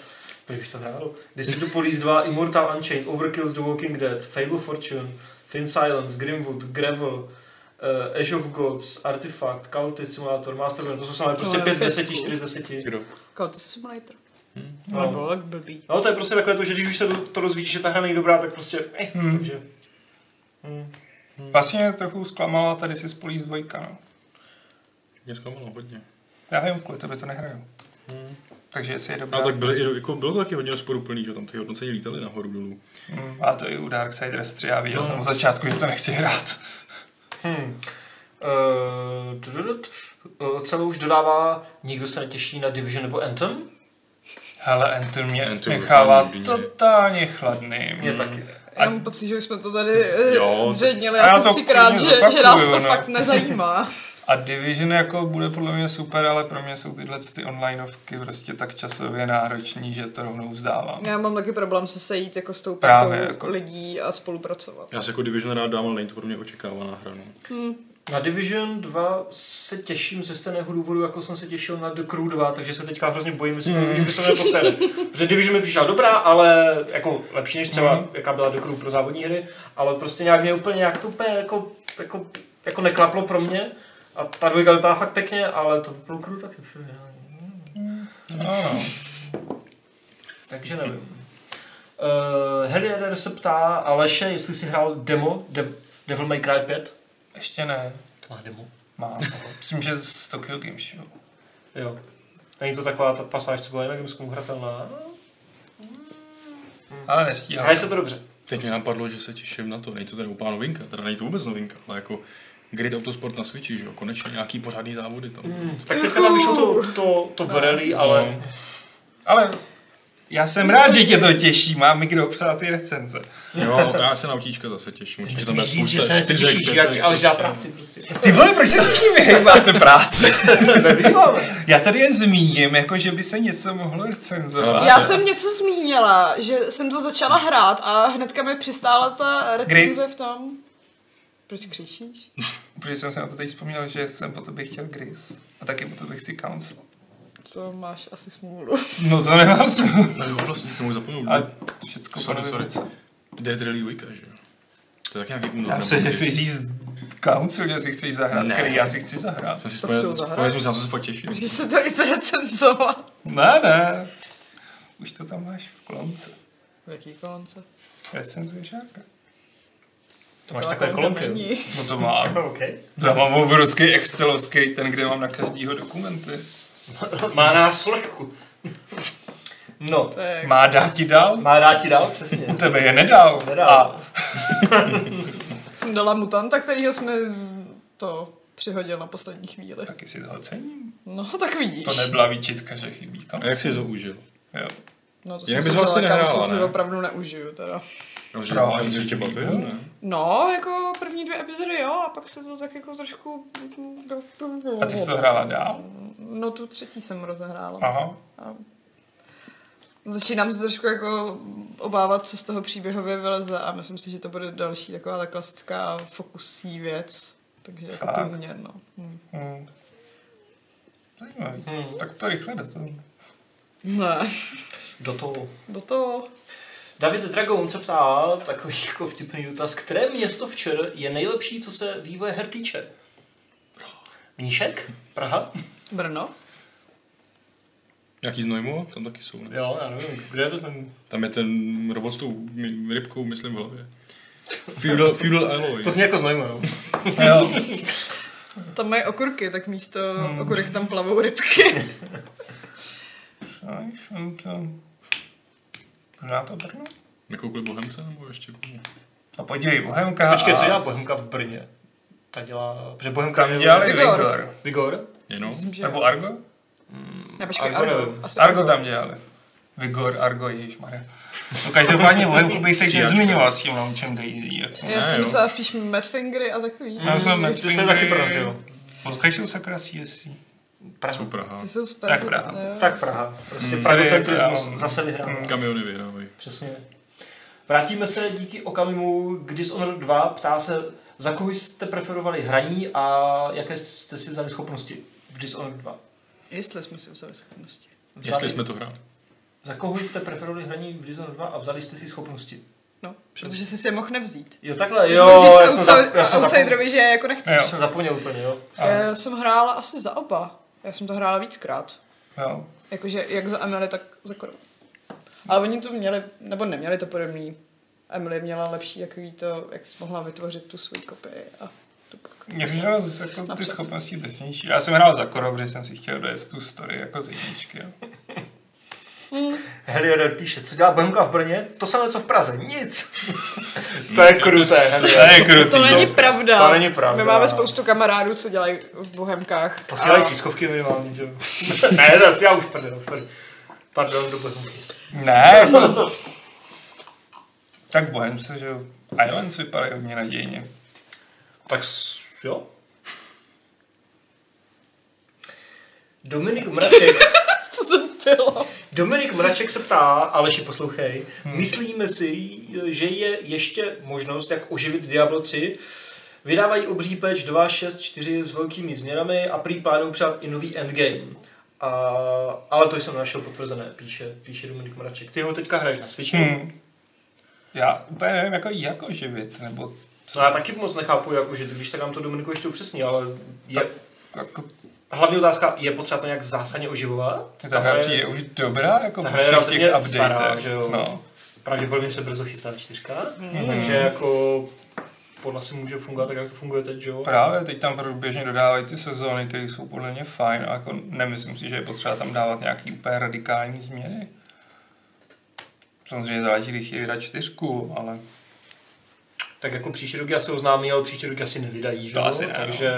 proč bych to hrál? Dissidopolis 2, Immortal Unchained, Overkill's The Walking Dead, Fable Fortune, Thin Silence, Grimwood, Gravel, Uh, Age of Gods, Artifact, Cultist Simulator, Mastermind, to jsou samé prostě je 5 z pětku. 10, 4 z 10. kdo. Jako to simulator. Hmm. No. Ale bylo tak blbý. No to je prostě takové to, že když už se do- to dozvíš, že ta hra není dobrá, tak prostě, eh, Hmm. takže. Hmm. Vlastně trochu zklamala tady si spolí z dvojka, no. Mě zklamalo hodně. Já vím, kvůli tebe to nehraju. Hmm. Takže jestli je dobrá. A tak byly, i- jako, bylo to taky hodně rozporuplný, že tam ty hodnocení lítaly nahoru dolů. Hmm, a to i u Darksiders 3, já viděl No. jsem od začátku, že to nechci hrát. Hmm. Uh, tududut. Eh, Celou už dodává, nikdo se netěší na Division nebo Anthem? Hele, Anthem mě Anthem nechává rozhodně. totálně chladný. Hmm. Mě taky. Já mám pocit, že už jsme to tady eh, Jo, tak- řednili A já asi to třikrát, klidně že, že nás to zopakuju, no. fakt nezajímá. A Division jako bude podle mě super, ale pro mě jsou tyhle ty onlineovky prostě tak časově nároční, že to rovnou vzdávám. Já mám taky problém se sejít jako s tou Právě, partou jako- lidí a spolupracovat. Já se jako Division rád dám, ale není to pro mě očekávaná hra. No. Na Division 2 se těším ze stejného důvodu, jako jsem se těšil na The Crew 2, takže se teďka hrozně bojím, jestli to- jestli se mi to posere. Protože Division mi přišla dobrá, ale jako lepší než třeba, jaká byla The Crew pro závodní hry, ale prostě nějak mě úplně, jak to úplně jako, jako, jako neklaplo pro mě. A ta dvojka vypadá fakt pěkně, ale to bylo Crew taky všude. No, no. Takže nevím. Uh, Harrier se ptá Aleše, jestli si hrál demo De- Devil May Cry 5. Ještě ne. To má demo. Mám. Myslím, že z Tokyo Game Show. Jo. Není to taková ta pasáž, co byla jinak gameskou hratelná? Ale nestíhám. Hraje se to dobře. Teď mě napadlo, že se těším na to. Není to tady úplná novinka, teda není to vůbec novinka, ale jako Grid Autosport na Switchi, že jo, konečně nějaký pořádný závody tam. Mm. Tak teďka tam vyšlo to, to, to No. Borelli, ale... Ale já jsem rád, že tě to těší. Mám mi kdo psát ty recenze. Jo, já se na autíčka zase těším. Určitě tam bude spousta čtyřek, jak, pětek, ale prostě. žádná práci prostě. Ty vole, proč se všichni vyhýbáte práce? Nevím, Já tady jen zmíním, jako že by se něco mohlo recenzovat. Ale- Já jsem něco zmínila, že jsem to začala hrát a hnedka mi přistála ta recenze v tom. Proč křičíš? Protože jsem se na to teď vzpomněl, že jsem po tobě chtěl Gris. A taky po tobě chci Council. To máš asi smůlu. No to nemám smůlu. No jo, vlastně to můžu zapomenout. A všecko Sorry, po sorry. tobě chci. Dead Rally 2, že jo. To je tak nějaký únor. Já nebo se kdy. jestli říct Council, že si chceš zahrát, Ne. který já si chci zahrát. Jsem si Tak si ho spojil, zahraj. spojil jsem se na to se fakt těším. Že se to i zrecenzovat. Ne, ne. Už to tam máš v kolonce. V jaký kolonce? Recenzuješ Žárka. To máš takové kolonky. jako Není. No to mám. OK. Já mám obrovský excelovský, ten, kde mám na každýho dokumenty. Má nás složku. No, To je... Má dát ti dal? má rád ti dál, přesně. U tebe je nedal. Nedal. A Jsem dala mutanta, kterýho jsme to přihodil na poslední chvíli. taky si toho cením. No, tak vidíš. To nebyla výčitka, že chybí kam. A jak jsi to užil? Jo. No, to Jinak jsem bys ho si asi dala, kam nehrála, si ne? si opravdu neužiju teda. Protože Právě, jsem že se tě líbí, bavil, ne? No, jako první dvě epizody jo, a pak se to tak jako trošku... A ty jsi to hrála dál? No tu třetí jsem rozehrála. Aha. A začínám se trošku jako obávat, co z toho příběhově vyleze a myslím si, že to bude další taková ta klasická fokusí věc. Takže jako Fakt? pro mě, no. Hm. Hmm. Zajímavý. Hmm. Tak to rychle do toho. Ne, Do toho. do toho. David Dragoun se ptá, takový jako vtipný dotaz, které město v ČR je nejlepší, co se vývoje her týče? Mníšek? Praha? Brno? Nějaký z Nojmu? Tam taky jsou, ne? Jo, já nevím, kde je to ten... Tam je ten robot s tou mi- rybkou, myslím, v hlavě. Feudal, Feudal Alloy. To zní jako znojmo, no. Jo. Hmm. Tam mají okurky, tak místo okurek tam plavou rybky. Víš, on to... Možná to Brno? Nekoukli Bohemce nebo ještě? úplně? A podívej, Bohemka Počkej, a... co dělá Bohemka v Brně? Ta dělá... Protože Bohemka je... Dělali Vigor. Vigor. Vigor? Jenom? Myslím, že Nebo Argo? Ne, počkej, No. Argo Argo. nevím. Asi Argo tam dělali. Vigor, Argo, ježišmarja. No každopádně Bohemku bych teď Stíhačka. nezmiňoval s tím Launchem Daisy. Jako. Já Ne, jsem jo. myslela spíš Madfingry a takový. Já jsem To- To je taky Brno, že jo? Odkažil sakra CSC. Praha. Jsou Praha. Ty jsou super. Tak Praha. jo. Tak Praha. Prostě Hmm. pragocentrismus Tady, zase vyhrál. Kamiony vyhrávají. Přesně. Vrátíme se díky Okamimu k Dishonored 2. Ptá se, za koho jste preferovali hraní a jaké jste si vzali schopnosti v Dishonored 2. Jestli jsme si vzali schopnosti. Vzali, Jestli jsme to hráli. Za koho jste preferovali hraní v Dishonored 2 a vzali jste si schopnosti? No, protože jsi si je mohl nevzít. Jo, takhle, Ty jo, můžeš říct já jsem, za, outside- já jsem, zapomněl, outsiderovi, že je jako nechceš. já Jo. jsem zapomněl úplně, jo. Já jsem hrála asi za oba. Já jsem to hrála víckrát. Jo. Jakože jak za Emily, tak za Koru. Ale oni to měli, nebo neměli to podobný. Emily měla lepší, jaký to, jak jsi mohla vytvořit tu svůj kopii a to pak. Mě přišlo z- jako ty Napřed. schopnosti drsnější. Já jsem hrál za Koro, protože jsem si chtěl dojet tu story jako z jedničky. jo. Heliodor píše, co dělá Bohemka v Brně? To samé, co v Praze. Nic. to je kruté, To Heliodor. je krutý. To není pravda. to není pravda. My máme spoustu kamarádů, co dělají v Bohemkách. Posílají A- tiskovky minimálně, že jo. ne, zase já už prdel, sorry. Pardon, do Bohemky. Ne. Tak Bohemce, že jo. Islands vypadají hodně nadějně. Tak s- jo. Dominik Mraček, Co to bylo? Dominik Mraček se ptá, Aleši poslouchej, hmm. myslíme si, že je ještě možnost, jak oživit Diablo 3, Vydávají obří patch 2.6.4 s velkými změnami a prý plánují třeba i nový endgame. A, ale to jsem našel potvrzené, píše, píše Dominik Mraček. Ty ho teďka hraješ na Switchi? Hmm. Já úplně nevím, jako, jak oživit, nebo No já taky moc nechápu, jak užit, když tak nám to Dominiku ještě upřesní, ale je, Tak- jako, hlavní otázka, je potřeba to nějak zásadně oživovat? ta hra přijde už dobrá, jako ta po hra je všech těch relativně stará, updatech. že jo. No. Pravděpodobně se brzo chystá čtyřka, Hmm. mm. takže jako podle si může fungovat tak, jak to funguje teď, že jo? Právě teď tam průběžně dodávají ty sezóny, které jsou podle mě fajn, a jako nemyslím si, že je potřeba tam dávat nějaký úplně radikální změny. Samozřejmě záleží, když je vydat čtyřku, ale Tak jako příští roky asi oznámí, ale příští roky asi nevydají, že To jo? asi ne, no. takže,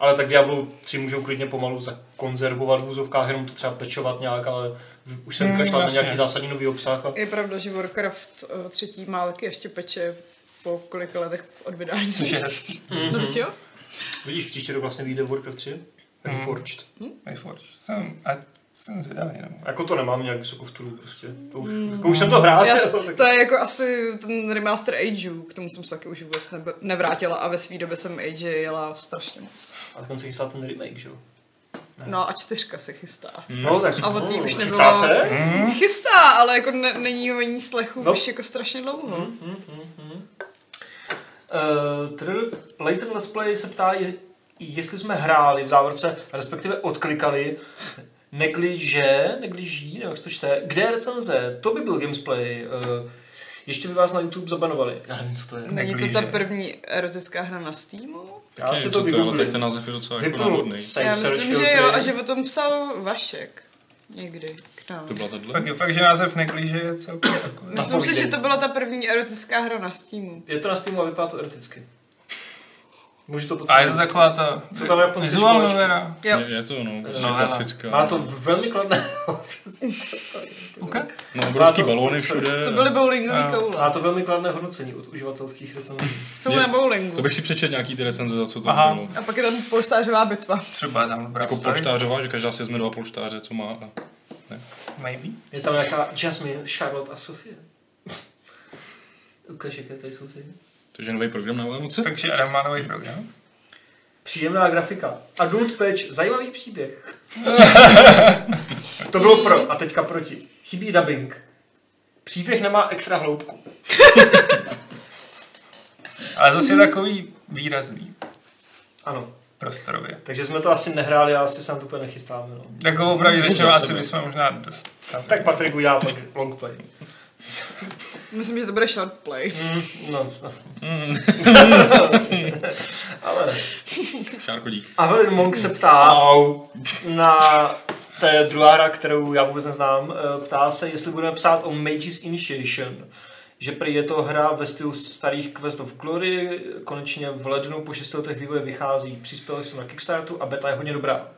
ale tak Diablo 3 můžou klidně pomalu zakonzervovat v úzovkách, jenom to třeba pečovat nějak, ale v- už jsem Hmm, vykašlal na jasně. nějaký zásadní nový obsah a Je pravda, že Warcraft eh, třetí má taky ještě peče po kolika letech od vydání. což je hezký. No, vždyť jo? vidíš, příští rok vlastně vyjde Warcraft 3, Hmm. Reforged. Reforged. Jsem, a jsem zvědavý, no. Jako to nemám nějak vysoko v turu prostě, to už, jako už jsem to hrál, Já, jo, tak- to je jako asi ten remaster Ageů, k tomu jsem se taky už vůbec nebe, nevrátila a ve své době jsem Age jela strašně moc. A dokonce chystá ten remake, že jo? No a čtyřka se chystá. No, tak A od ní už chystá nebylo- se? Hm? Hmm. Chystá, ale jako ne, není o ní slechu No. no. už jako strašně dlouho. Hm? Hmm. Mhm. Uh, tr- Leighton Let's Play se ptá, je, jestli jsme hráli v závorce, respektive odklikali, negliže, negliží, nebo jak se to čte, kde je recenze, to by byl gamesplay, uh, ještě by vás na YouTube zabanovali. Já nevím, co to je. Není to Neklíže. ta první erotická hra na Steamu? Já Taky si nevím, to co to je, ale vygooglím. tak ten název je docela jako Vypnul náhodný. save Já search myslím, že filtry. jo, a že o tom psal Vašek. Někdy k nám. To byla Fakt, tato? je fakt, že název neklíže je jako- celkem takový. Myslím si, že napovídající. to byla ta první erotická hra na Steamu. Je to na Steamu a vypadá to eroticky. Můžu to A je to potvrdit. taková ta Co tam je pod vizuál školečkou? novela. Jo. Je, je to no, prostě No, klasická. Má to velmi kladné. Co to je? Okay. No, má obrovský to- balóny všude. To byly bowlingové Jo. Má koule. to velmi kladné hodnocení od uživatelských recenzí. Jsou Je- na To bowlingu. bych si přečetl nějaký ty recenze, za co to Aha. bylo. A pak je tam polštářová bitva. Třeba je tam dobrá Jako story. polštářová, že každá si vezme dva polštáře, co má. A... Maybe. Je tam nějaká Jasmine, Charlotte a Sofie. Ukaž, jaké tady jsou ty. Takže nový program na Vánoce? Takže Adam má nový program. Příjemná grafika. Adult patch, zajímavý příběh. to bylo pro a teďka proti. Chybí dubbing. Příběh nemá extra hloubku. Ale zase je takový výrazný Ano, prostorově. takže jsme to asi nehráli a asi se na to úplně nechystáme. No. Jako opravdu řečeno, za asi sebe. bychom možná dostali. Tak Patrik udělá pak longplay. Myslím, že to bude short play. Hm. Mm, no, no. Ale ne. Šárko dík. Avelin Monk se ptá na to je druhá hra, kterou já vůbec neznám. Eh, Ptá se, jestli budeme psát o Mages Initiation. Že prý je to hra ve stylu starých Quest of Glory, konečně v lednu po 6 letech vývoje vychází. Přispěl jsem na Kickstarteru a beta je hodně dobrá.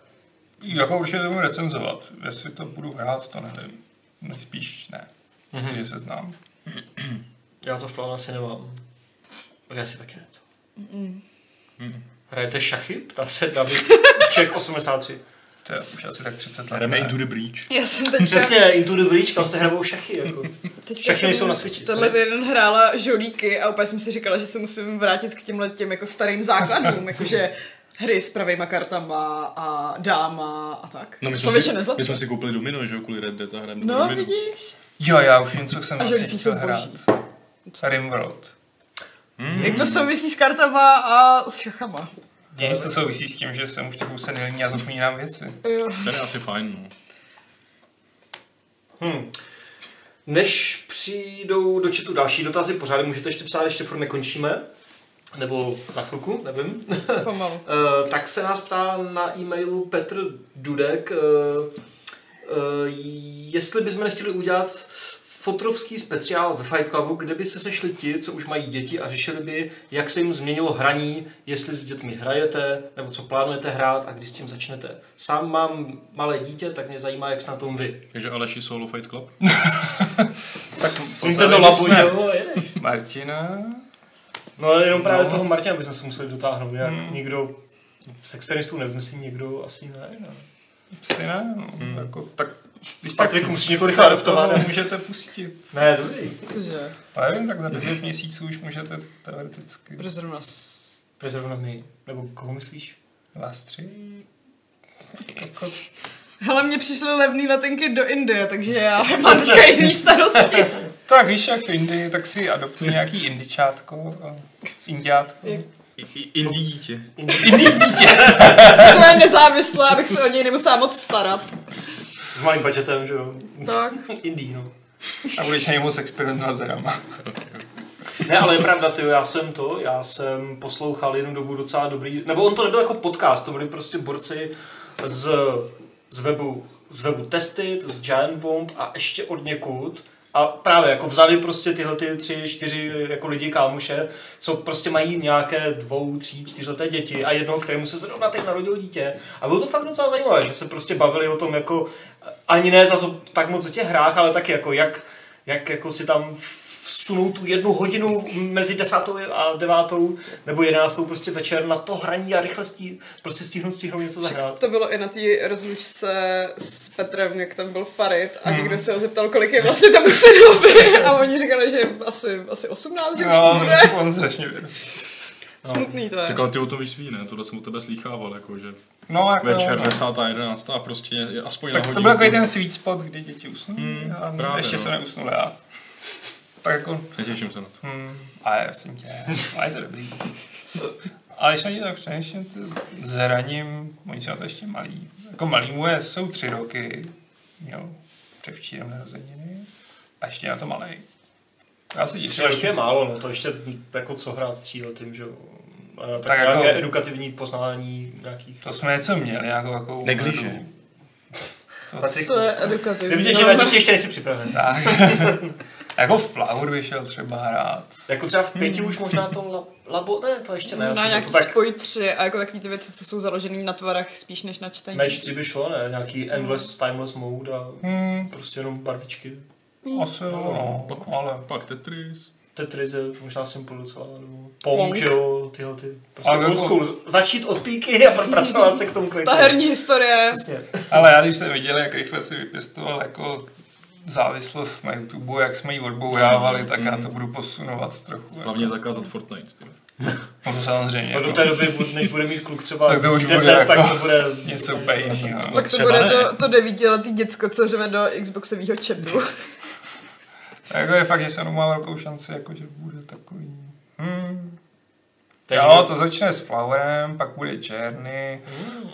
Jako určitě to budu recenzovat. Jestli to budu hrát, to nevím. Nejspíš ne. Mm-hmm. Že se znám. Já to v plánu asi nemám. Já si taky ne. Hrajete šachy? Ptá se David Čech 83. To je už asi tak 30 let. Hrajeme ne. Into the Breach. Já jsem teďka... Přesně, Into the Breach, tam se hrajou šachy. Jako. Teďka Všechny jsem jsou na Switchi, co Tohle ne? týden hrála žolíky a úplně jsem si říkala, že se musím vrátit k těmhle těm jako starým základům, jakože hry s pravýma kartama a dáma a tak. No my jsme, Člověče si, nezlobte. my jsme si koupili domino, že jo, kvůli Red Dead a hrajeme No domino. vidíš? Jo, já už něco jsem A že vlastně lidi chtěl jsou hrát. boží. Rimworld. Jak to souvisí s kartama a s šachama? Mně to vlastně souvisí s tím, že jsem už takovou seniorní a zapomínám věci. Jo. Ten je asi fajn, no. Hmm. Než přijdou do chatu další dotazy, pořád můžete ještě psát, ještě furt nekončíme. Nebo za chvilku, nevím. Pomalu. Eh, tak se nás ptá na e-mailu Petr Dudek, eh, eh, jestli bychom nechtěli udělat fotrovský speciál ve Fight Clubu, kde by se sešli ti, co už mají děti a řešili by, jak se jim změnilo hraní, jestli s dětmi hrajete, nebo co plánujete hrát a kdy s tím začnete. Sám mám malé dítě, tak mě zajímá, jak se na tom vy. Takže Aleši Solo Fight Club. Tak Nintendo Labo, že jo, jedeš. Martina? No ale jenom právě No. no. toho Martina bychom se museli dotáhnout, jak hmm. někdo sexteristů nevymyslí, někdo asi ne. ne. Asi ne, no, hmm. jako, tak když Pak tak Viku musí několik se do adaptovat, toho ne? můžete pustit. Ne, dobrý. Cože? A nevím, tak za devět měsíců už můžete teoreticky. Proč zrovna s... Proč zrovna my? Nebo koho myslíš? Vás tři? Jako, Hele, mě přišly levný letenky do Indie, takže já mám teďka jiný starosti. tak víš, jak v Indii, tak si adoptuj nějaký indičátko, a indiátko. Jak- Indí dítě. Takové nezávislé, abych se o něj nemusela moc starat. S malým budgetem, že jo? Tak. Indí, no. A budeš na něj moc experimentovat s hrama. Ne, ale je pravda, ty, já jsem to, já jsem poslouchal jednu dobu docela dobrý, nebo on to nebyl jako podcast, to byli prostě borci z, z webu, z webu Testit, z Giant Bomb a ještě od někud. A právě jako vzali prostě tyhle ty tři, čtyři jako lidi kámoše, co prostě mají nějaké dvou, tří, čtyřleté děti a jednoho, kterému se zrovna teď narodilo dítě. A bylo to fakt docela zajímavé, že se prostě bavili o tom jako ani ne zas o- tak moc o těch hrách, ale taky jako jak, jak jako si tam vsunou tu jednu hodinu mezi desátou a devátou nebo jedenáctou prostě večer na to hraní a rychle stí, prostě stihnout, stihnout něco zahrát. To bylo i na té rozlučce s Petrem, jak tam byl Farid Hmm. a někdo se ho zeptal, kolik je vlastně tam synovi a oni říkali, že asi, asi 18, že už No, mu bude. on strašně vyrostl. no. Smutný to je. Tak ale ty o tom víš svý, ne? Tohle jsem u tebe slýchával, jako, že No, jako, večer 10. a 11. a prostě je, je aspoň na tak to hodinu. byl takový ten sweet spot, kdy děti usnou. a právě, ještě no. se neusnul já. Tak jako, Netěším se na to. Hmm, ale já jsem tě, ale je to dobrý. Ale když na ně tak přemýšlím, ty zraním, oni jsou na to ještě malí. Jako malý mu je, jsou tři roky, měl převčírem narozeniny a ještě na to malý. Já si Tři roky těším. je málo, no to ještě jako co hrát s tříletým, že jo. A tak, Tak jako- nějaké edukativní poznání nějakých... To jsme něco měli, nějakou takovou... Negliže. hru. To, Patrik, To je je edukativní. No, vidět, že na děti ještě nejsi připraven. tak. jako Flower by šel třeba hrát. Jako třeba v pěti už možná to la, labo, ne, to ještě ne. já na jsem nějaký to tak spoj tři a jako takový ty věci, co jsou založený na tvarech spíš než na čtení. Match 3 by šlo, ne? Nějaký endless, timeless mode a Hmm, prostě jenom barvičky. asi jo, no, Pak- ale... Pak Tetris. Tetris je možná symbol docela, nebo Pong. Pong, že jo, tyhle ty. Prostě Ale jako- old school, začít od píky a propracovat se k tomu klidně. Ta herní historie. Přesně. Ale já když jsem viděl, jak rychle si vypěstoval jako závislost na YouTube, jak jsme ji odbourávali, tak já to budu posunovat trochu. Jako. Hlavně zakázat Fortnite. Ty. No to samozřejmě. No do Jako, té doby, bu- než bude mít kluk třeba Tak to už bude 10, jako tak to bude něco no. úplně jiného. Pak to třeba bude ne. to, to devítiletý děcko, co řve do Xboxového chatu. Jako je fakt, že jsem má velkou šanci, jako, že bude takový. Hmm. Tak jo, jo. to začne s Flowerem, pak bude Černy,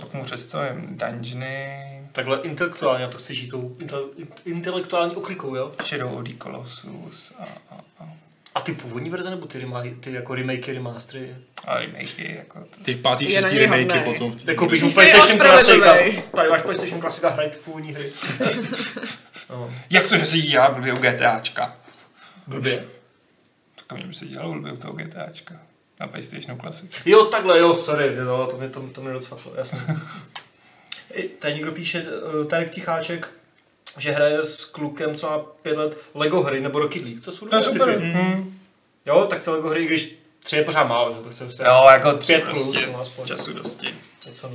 pak mu představím Dungeony, Takhle intelektuálně, já to chci žít tou intel, intelektuální oklikou, jo? Shadow of the Colossus a, a, a. A ty původní verze nebo ty, rema- ty jako remakey, remastery? A remakey, jako to... Ty pátý, Je na šestý něj remakey hodnej. potom. v té- Jako bych Jsi PlayStation Classic. a- neospravedlivej. Tady máš PlayStation Classic a hraj ty původní hry. no, Jak to, že si dělá blbě u GTAčka? blbě. Tak mě by se dělalo blbě u toho GTAčka. Na PlayStationu Classic. Jo, takhle, jo, sorry, jo, to mě, to, to mě docvaklo, jasně. I Tady někdo píše, eh, Tarek Ticháček, že hraje s klukem, co má pět let, Lego hry nebo Rocket League. To Mhm. jsou To je dobré super. typy. Hmm. Jo, tak ty Lego hry, i když tři je pořád málo, jo, tak se prostě- se Jo, jako tři Pět plus, prostě. no, aspoň. Času dosti. něco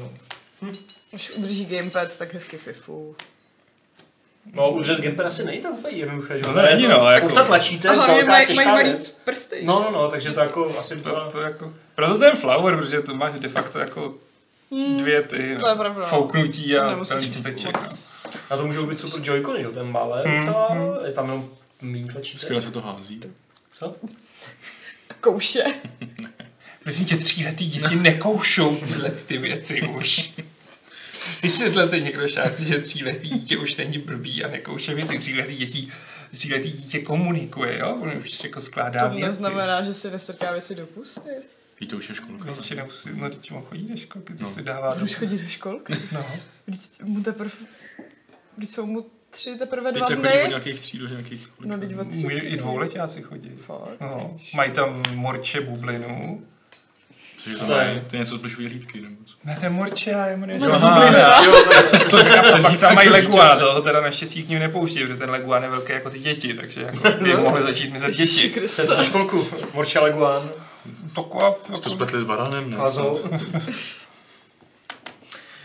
no. Až udrží gamepad, tak hezky fifu. No, udržet gamepad asi není tak úplně jednoduché, že? No to není, no, Spousta jako- tlačíte, A hlavně velká mají mají těžká malý věc. prsty. No, no, no, takže to jako asi To, docela... to jako... Proto ten flower, protože to máš de facto jako dvě ty Hmm, to je pravda. fouknutí a Nemusíš lísteček. no. moc. A to Mhm, můžou být super Joy-Cony, jo, ten malé docela, je tam jenom méně Skvěle tlačítek. se to hází. Co? no. Kouše. Prosím tě, tříletý děti No. nekoušou tyhle ty věci už. Vysvětlete někdo šáci, že tříletý dítě už není blbý a nekouše věci. Tříletý, dětí, tříletý dítě komunikuje, jo? On už jako skládá To věty. neznamená, že si nestrká věci do pusty. Ví to už je školka. No, ještě nemusí, no, děti mu chodí do školky, ty No. si dává On do... už chodí do školky. No. Vždyť mu teprve... Vždyť jsou mu tři teprve Teď dva se chodí po dny. nějakých tří do nějakých No, teď od Může i dvouletáci chodí. Fakt. No. Mají tam morče bublinu. Což je Co to, to je? ne, to je něco z plišový hlídky, nebo co? Ne, to je morče, já jmenuji se Aha. bublina. Jo, to je Co Přesně tam mají Legua, toho teda naštěstí k ním nepouští, protože ten Leguan je velký jako ty děti, takže jako by mohli začít mizet Ježíši děti. Jste na Krista. školku. Morča Leguán, Taková, To jako, spletli s baranem, ne? Kazou.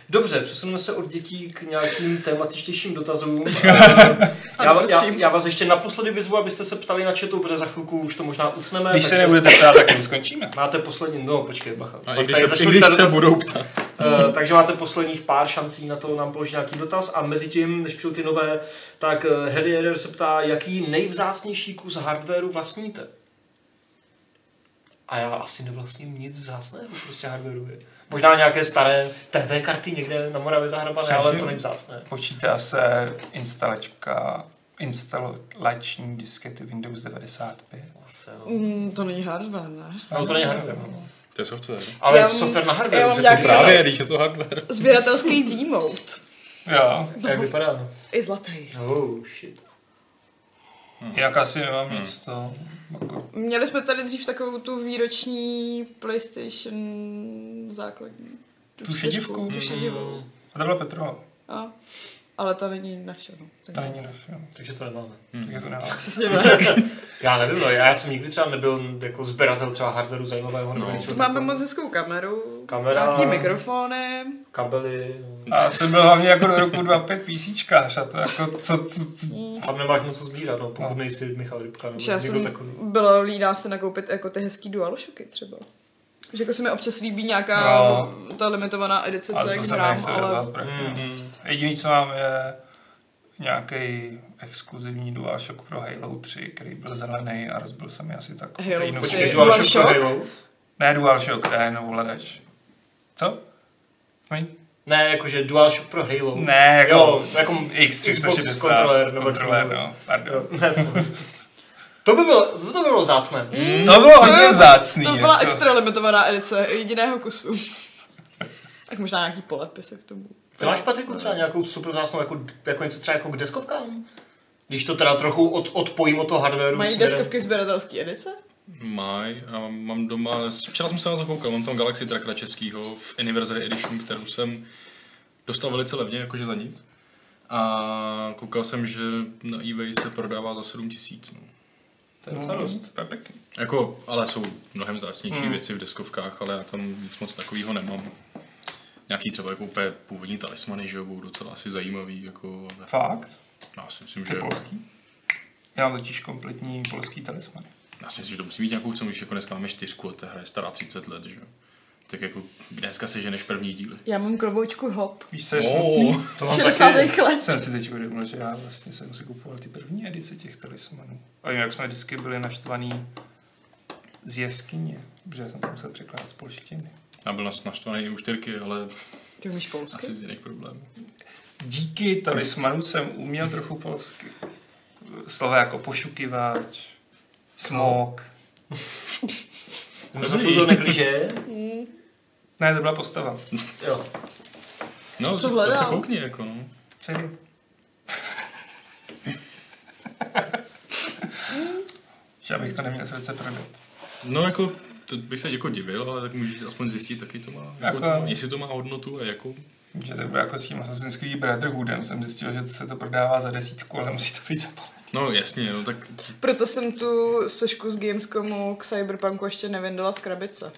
Dobře, přesuneme se od dětí k nějakým tématičtějším dotazům. já, já, já, vás ještě naposledy vyzvu, abyste se ptali na chatu, protože za chvilku už to možná utneme. když se takže nebudete ptát, tak to skončíme. Máte poslední, no počkej, bacha. A Pak i když tady se, i začnou když tady se dotazy. budou ptát. Eh, takže máte posledních pár šancí na to nám položit nějaký dotaz a mezi tím, než přijdou ty nové, tak eh, Harry Jeder se ptá, jaký nejvzácnější kus hardwareu vlastníte? A já asi nevlastním nic vzácného, prostě hardwareu je. Možná nějaké staré TV karty někde na Moravě zahrabané, Přesně. ale to není vzácné. Počítá se instalačka, instalační diskety Windows 95. Asi, no. Mm, to není hardware, ne? No to není hardware. No. To je software. Ale Já mám- software na já hardwareu, mám že to nějaký- vypadá. Právě, když je to hardware. Sběratelský výmout. Jo, Jak vypadá, no. I zlatý. Oh, shit. jinak asi nemám nic to. Jako, Měli jsme tady dřív takovou tu výroční PlayStation základní. Tu šedivku? Tu šedivou. a to byla Petrova, A, ale ta není naše. No. to Tak. není naše. no. Takže to nemáme. Tak jako nemám. Přesně tak. Já nevím, no, já jsem nikdy třeba nebyl jako sběratel třeba hardwareu zajímavého. nebo No. něčeho Tu máme takového. moc hezkou kameru. Kamera. Nějaký mikrofony. kabely, no. A já jsem byl hlavně jako do roku 25 písíčkář a to jako co, co, co Mm. tam nemáš moc co sbírat, no, pokud No. nejsi Michal Rybka nebo Že já někdo jsem takový. byla líná se nakoupit jako ty hezký DualShocky třeba. Že jako se mi občas líbí nějaká No. ta limitovaná edice, co Ale jak to se hrám, nechce ale ale... Mm-hmm. Hmm. mm. Jediný, co mám, je nějaký exkluzivní DualShock pro Halo 3, který byl zelený a rozbil se mi asi tak. o Halo týdnu. 3. Počkej, Ty DualShock pro DualShock? Halo? Ne DualShock, to je novoladeč. Co? Promiň? Ne, jakože DualShock pro Halo. Ne, jako jo, jako Xbox X360 kontroler, nebo jak se kontroler, jmenuje. no, pardon. Jo, ne, to by bylo, to by bylo zácné. Mm, to bylo to hodně je- vzácný. to byla jako. extra limitovaná edice jediného kusu. tak možná nějaký polepis k tomu. Ty máš, Patriku, třeba nějakou super vzácnou, jako, jako něco třeba jako k deskovkám? Když to teda trochu od, odpojím od toho hardwareu. Mají směrem- deskovky sběratelské edice? Maj a mám doma, včera jsem se na to koukal, mám tam Galaxy Trackera českýho v Anniversary Edition, kterou jsem dostal velice levně, jakože za nic. A koukal jsem, že na eBay se prodává za 7 tisíc. No. To je docela dost. To je pěkný. Jako, ale jsou mnohem zácnější hmm. věci v deskovkách, ale já tam nic moc takového nemám. Nějaký třeba jako úplně původní talismany, že jo, budou docela asi zajímavý, jako, ale Fakt? já si myslím, Ty že, polský? Já mám totiž kompletní polský talisman. já si myslím, že to musí mít nějakou cenu, když jako dneska máme čtyřku a ta hra je stará 30 let, že jo. Tak jako dneska se ženeš první díly. Já mám kloboučku hop. Víš, co je Oh. smutný? Z 60. let. Jsem si teď uvědomil, že já vlastně jsem si kupoval ty první edice těch talismanů. A jak jsme vždycky byli naštvaný z jeskyně, protože já jsem to musel překládat z polštiny. Já byl nas- naštvaný i u čtyřky, ale Ty umíš polsky? asi z jiných problémů. Díky talismanu jsem uměl trochu polsky. Slova jako pošukiváč, Smog. Jsme No, zase to neblíže. Ne, to byla postava. Jo. No, Co co to hledal? se koukni, jako no. Celý. Že abych to neměl srdce prodat. No, jako, to bych se jako divil, ale tak můžeš aspoň zjistit, taky to má, jako, to Jako- má, jestli to má hodnotu a jakou. Že to bylo jako s tím Assassin's Creed Brotherhoodem. Jsem zjistil, že se to prodává za desítku, ale musí to být zapalené. No, jasně, no, tak Proto jsem tu sošku z Gamescomu k Cyberpunku ještě nevyndala z krabice.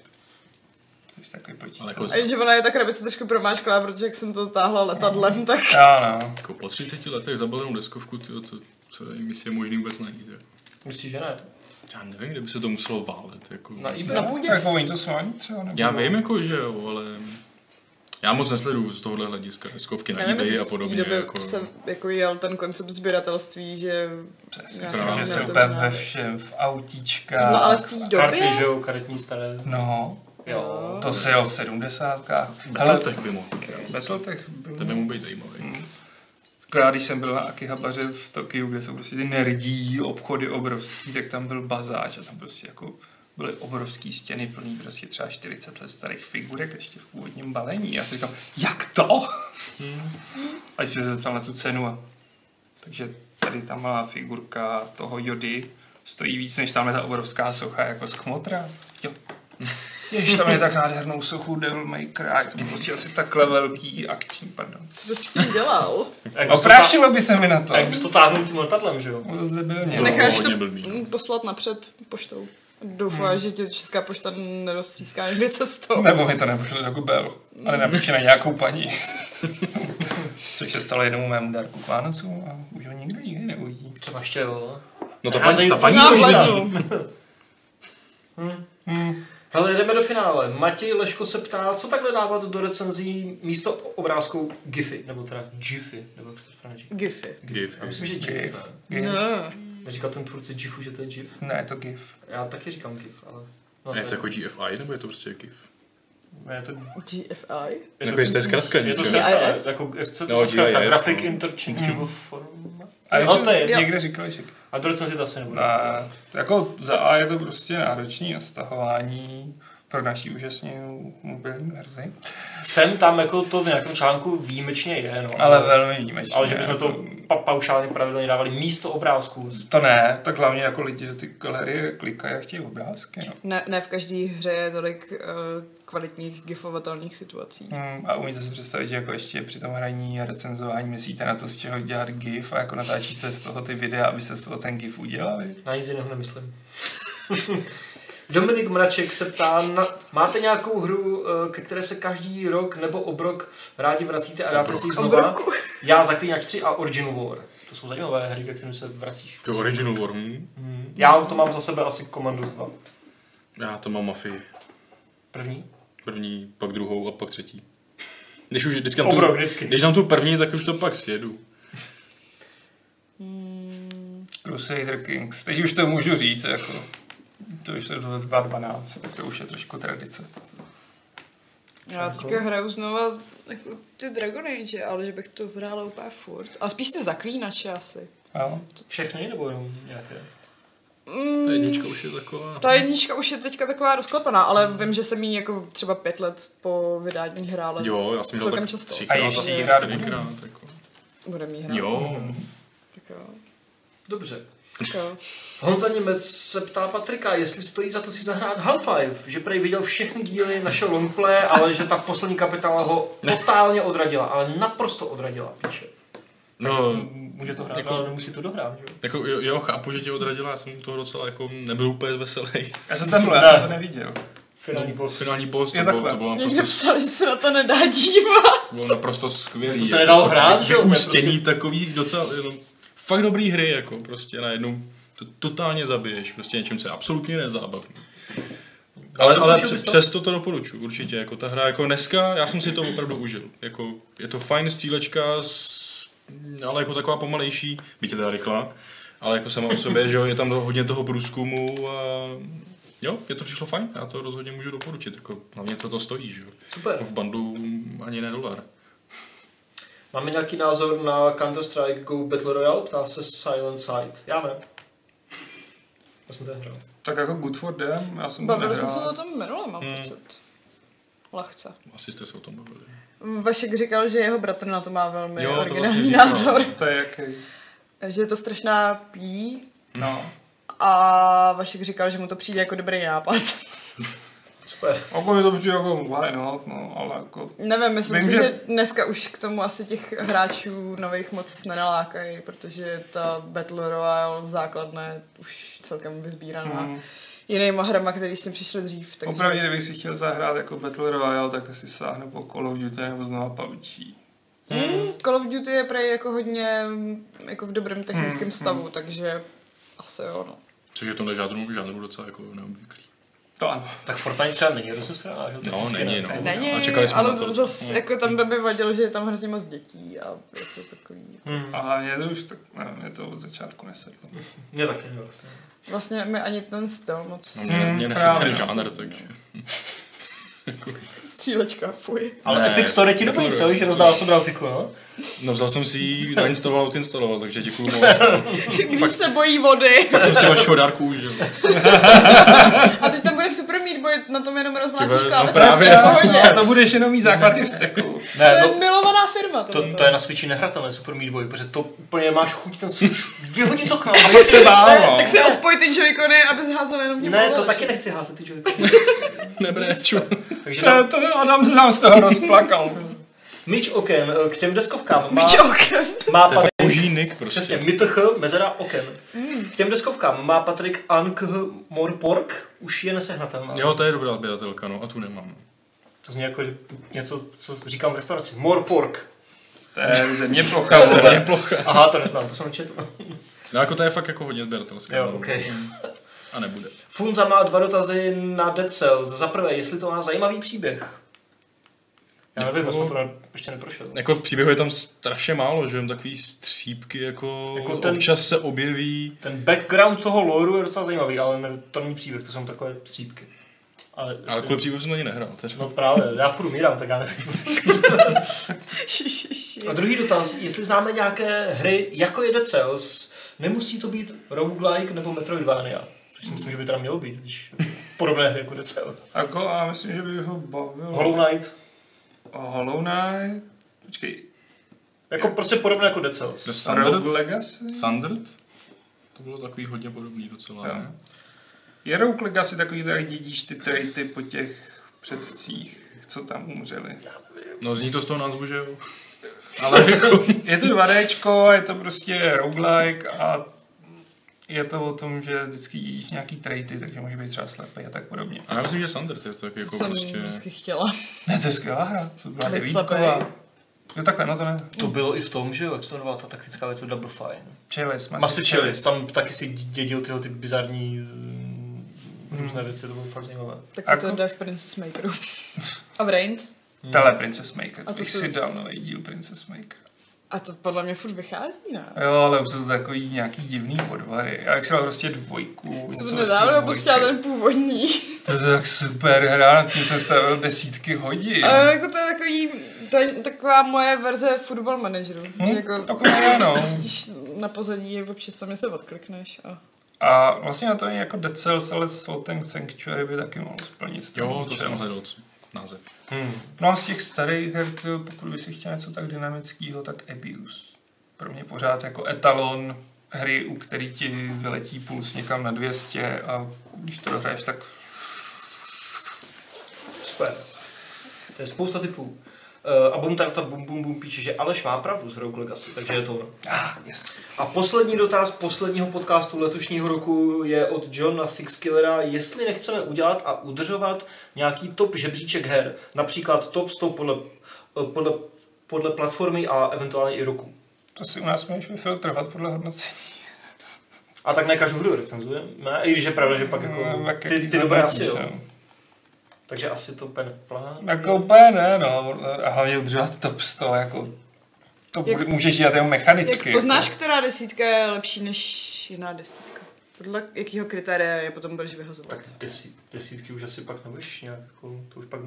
Jsi takový Ale počítač. jako- A že ona je ta krabice trošku promáčklá, protože jak jsem to táhla letadlem, tak... Ano. jako po 30 letech zabalenou deskovku, tyjo, to, co nevím, jestli je možný vůbec najít. Jako. Myslíš, že ne? Já nevím, kde by se to muselo válet. Jako. Na eBay. Na půdě. Jako oni to sváni třeba? Nebo Já vím, jako, že jo, ale já moc nesleduju z tohohle hlediska deskovky na eBay jestli a v podobně. té době Jako, jsem jako jel ten koncept sběratelství, že... Přesně, Já jsem, jsem že jsem neotevřená úplně ve věc. všem, v No autíčkách. ale v té době... Karty, že jo, karetní staré. No, Jo. to se jel v sedmdesátkách. Ale Battletech by mohl. Battletech byl... Ten by mohl být zajímavý. Já když jsem byl na Akihabaře v Tokiu, kde jsou prostě ty nerdí, obchody obrovský, tak tam byl bazáč a tam prostě jako byly obrovské stěny plný prostě třeba 40 let starých figurek ještě v původním balení. Já si říkám, jak to? A když se zeptal na tu cenu. A... Takže tady ta malá figurka toho Jody stojí víc než tamhle ta obrovská socha jako z kmotra. Jo. Ježiš, tam je tak nádhernou sochu Devil May Cry, to bylo prostě asi takhle velký akční, pardon. Co bys s tím dělal? A jak bys to tá- Oprášilo by se mi na to. a jak bys to táhnul tím letadlem, že jo? No, To zde byl mě. To bylo Necháš to hodně blbý, no. mm, poslat napřed poštou. Doufám, že tě Česká pošta neroztříská někde cestou. Nebo mi to nepošle do Bel, ale napíše na nějakou paní. Což se stalo jednomu mému dárku k Vánocům a už ho nikdo nikdy neuvidí. Třeba ještě jo. No ta paní- ta paní Možná v možná. lednu. Hele, jdeme do finále. Matěj Leško se ptá, co takhle dávat do recenzí místo obrázkou GIFy, nebo teda GIFy, nebo jak se to správně říká. Gify. GIF. Já myslím, že GIF. GIF. ne? GIF. Ne. Říkal ten tvůrce GIFu, že to je GIF. Ne, je to GIF. Já taky říkám GIF, ale... No, A je to jako GFI, nebo je to prostě GIF? Ne, je to... GFI? Je Jako jestli to je zkratka Je to něco. zkratka, GIF? jako, co No, to zkratka, GIF, Graphic no. Interchangeable Format. A No, to je- někde říkal, že A do recenzi to asi nebude. na, jako za A je to prostě náročný na stahování pro naší úžasně mobilní verzi. Sem tam jako to v nějakém článku výjimečně je, no. Ale velmi výjimečně. ale že bychom to pa- paušálně pravidelně dávali místo obrázků. To ne, tak hlavně jako lidi do ty galerie klikají a chtějí obrázky. No. Ne, ne v každé hře je tolik eh, kvalitních gifovatelných situací. Hmm, a umíte si představit, že jako ještě při tom hraní a recenzování myslíte na to, z čeho dělat GIF a jako natáčíte z toho ty videa, abyste z toho ten GIF udělali? Na nic jiného nemyslím. Dominik Mraček se ptá, na, máte nějakou hru, eh, ke které se každý rok nebo obrok rádi vracíte a dáte si ji znova? Obroku. Já Zaklínač 3 a Origin War. To jsou zajímavé hry, ke kterým se vracíš. To Original War, hm? Já to mám za sebe asi Commandos 2. Já to mám mafii. První. První, pak druhou a pak třetí. Když už vždycky dám Obrok tu, vždycky. když dám tu první, tak už to pak sjedu. Hmm. Crusader Kings. Teď už to můžu říct, jako. To už je 2012, tak to už je trošku tradice. Já Jako- teďka hraju znova jako ty Dragon Age, ale že bych to hrála úplně furt. A spíš ty zaklínače asi. Jo? Všechny nebo jenom nějaké? Mm, Ta jednička Mm. už je taková. ta jednička už je teďka taková rozklepaná, ale vím, že jsem ji jako třeba pět let po vydání hrála. Jo, já jsem jí dal Celkem tak často. A třikrát, ještě asi jí hrát čtyřikrát. Jako. Budem jí hrát. Jo, Tak jo. Dobře. Tak jo. Honza Němec se ptá Patrika, jestli stojí za to si zahrát Half-Life, že prej viděl všechny díly naše longplay, ale že ta poslední kapitala ho totálně odradila, ale naprosto odradila, píše. no, Může to hrát, Jako- ale nemusí to dohrát, že jo? jako, jo, jo, chápu, že tě odradila, já jsem u toho docela jako nebyl úplně veselý. Já jsem tam byl, já jsem to neviděl. Finální boss. Finální boss, to Je bylo, takhle. to bylo Někdo naprosto, psal, že se na to nedá dívat. to bylo naprosto skvělý. To se nedalo jako, hrát, že jo, prostě. to je Vyústění takových docela, no, fakt dobrý hry, jako prostě najednou to totálně zabiješ, prostě něčím, co je absolutně nezábavný. Ale, ale Doporučil přes, bys to? přesto to doporučuji, určitě, jako ta hra, jako dneska, já jsem si to opravdu užil, jako je to fajn střílečka, s, ale jako taková pomalejší, byť je teda rychlá, ale jako sama o sobě, že jo, je tam to- hodně toho průzkumu a jo, je to přišlo fajn, já to rozhodně můžu doporučit, jako hlavně co to stojí, že jo. Super. V bandu ani ne dolar. Máme nějaký názor na Counter-Strike Go Battle Royale? Ptá se Silent Sight. Já ne. Já jsem to nehrál. Tak jako Good for Them, já jsem to Bavili jsme se nehrál. o tom minule, mám Hmm. pocit. Lehce. Asi jste se o tom bavili. Vašek říkal, že jeho bratr na to má velmi Jo, jo, to originální vlastně říkal. názor. To je jaký? Že je to strašná pí No. a Vašek říkal, že mu to přijde jako dobrý nápad. Super. Jako mi to přijde jako why not, no, ale jako... Nevím, myslím Vím, si, že- že... dneska už k tomu asi těch hráčů nových moc nenalákají, protože ta Battle Royale základna je už celkem vyzbíraná Mm. mm. jinýma hrama, který s tím přišli dřív. Takže... Opravdu, kdybych si chtěl zahrát jako Battle Royale, tak asi sáhnu po Call of Duty nebo znova PUBG. Mm, Call of Duty je prej jako hodně mm, jako v dobrém technickém Mm, mm, stavu, mm. takže asi jo, no. Což je v tomhle žádnou žánru docela jako neobvyklý. To ano. Tak Fortnite třeba není rozesraná, že? No, není, no. Není, A čekali jsme ale na to. zase jako tam by vadil, že je tam hrozně moc dětí a je to takový... Hmm. A hlavně to už tak, nevím, mě to od začátku nesedlo. Mě taky. jo, vlastně. Vlastně mi ani ten styl moc... No, Hmm, mě, mě Mm, nese právě, ten asi. žánr, takže... Střílečka, fuj. Ale Ne, Epic Store je ti to dobrý, je- co? Když rozdával sobral no? No vzal jsem si ji, nainstaloval, odinstaloval, takže děkuju moc. Když se bojí vody. Pak jsem si vašeho dárku užil. A teď tam bude super mít boj, na tom jenom Ty rozmlátíš vole, no klávesy. právě, v no. pohodě. A to budeš jenom mít základy v steku. To Ne, je no, milovaná firma to, tohleto. to je na Switchi nehratelné Super Meat Boy, protože to úplně máš chuť ten Switch, jeho něco k nám. To se bálo. Tak si odpoj ty joycony, aby zházel jenom tím Ne, to ovladačem. taky nechci házet ty joycony. Nebreču. Takže tam, To, to Adam se nám z toho rozplakal. myč okem eh, k těm deskovkám má, Míč okem. má To je fakt Patrik, boží nick přesně, prostě. mytch, mezera okem. K těm deskovkám má Patrik Ankh Morpork, už je nesehnatelná. Jo, to je dobrá odběratelka, no a tu nemám. To zní jako něco, co říkám v restauraci. Morpork. To je země plocha, vole. plocha. Aha, to neznám, to jsem četl. No jako to je fakt jako hodně odběratelská. Jo, no. ok. A nebude. Funza má dva dotazy na Dead Cells. Za prvé, jestli to má zajímavý příběh. Já nevím, Jako- já jsem to ne, ještě neprošel. Jako příběhu je tam strašně málo, že jen takový střípky, jako, Jako ten- občas se objeví. Ten background toho lore je docela zajímavý, ale ne, to není příběh, to jsou takové střípky. Ale, Ale kvůli příběhu jsem na ně nehrál. Teda. No právě, já furt umírám, tak já nevím. Ši, ši, ši. A druhý dotaz, jestli známe nějaké hry, jako je Dead Cells, nemusí to být roguelike nebo Metroidvania. Což si myslím, že by tam mělo být, když podobné hry jako Dead Cells. Jako, a myslím, že by ho bavilo. Hollow Knight, Hollow Knight. Počkej, jako prostě podobné jako Dead Cells. Rogue Sandert? Legacy? Sandert? To bylo takový hodně podobný docela. Jo. ne? Je Rogue Legacy takový, jak dědíš ty traity po těch předcích, co tam umřeli. No zní to z toho názvu, že jo. Ale jako... Je to 2Dčko, je to prostě roguelike a je to o tom, že vždycky dědíš nějaký traity, takže může být třeba slepý a tak podobně. A já myslím, že Sandert je tak To jako jsem prostě... vždycky chtěla. Ne, to je skvělá hra, to byla Být devítková. slepej. No takhle, no to ne. To bylo i v tom, že jo, jak se to jmenovala ta taktická věc, Double Fine. Chalice, Massive Chalice, tam taky si dědil tyhle ty bizarní mm, různé věci, to bylo fakt zajímavé. Tak Ako? to jde v Princess Makeru. A v Reigns. Tele Princess Maker, A to ty jsou- si dal nový díl Princess Maker. A to podle mě furt vychází, ne? Jo, ale už jsou to takový nějaký divný podvary. Já jak jsem dal prostě dvojku. něco prostě Jsem nedávno dvojky. pustila ten původní. To je tak super hra, na tím jsem stavil desítky hodin. A jako to je takový, to je taková moje verze football manageru. Hm, Že jako taková, no. pustíš na pozadí, občas tam se odklikneš a... A vlastně na to není jako Dead Cells, ale Salt and Sanctuary by taky mohl splnit. ten Jo, to účel. jsem hledal co- název. No a z těch starých her, to, pokud by si chtěl něco tak dynamického, tak Abuse. Pro mě pořád jako etalon hry, u který ti vyletí puls někam na 200 a když to dohraješ, tak Super. To je spousta typů. Uh, a bum tarta bum bum bum píše, že Aleš má pravdu z Rogue Legacy, takže je to ono. ah, yes. A poslední dotaz posledního podcastu letošního roku je od Johna Sixkillera, jestli nechceme udělat a udržovat nějaký top žebříček her, například top 100 podle, eh, podle, podle platformy a eventuálně i roku. to si u nás můžeš vyfiltrovat podle hodnocení. A tak ne každou hru recenzujeme, i když je pravda, že pak jako No, jak- ty, jaký ty dobré zaplatíš, asi jo. no. Takže asi to úplně plán. Jako úplně ne, no. A hlavně udržovat top 100, jako... To Jak- bude, můžeš dělat jenom mechanicky. jako. Jak poznáš, jako. která desítka je lepší než jiná desítka? Podle jakého kritéria je potom budeš vyhazovat? Tak desít, desítky už asi pak nebudeš nějak, jako, to už pak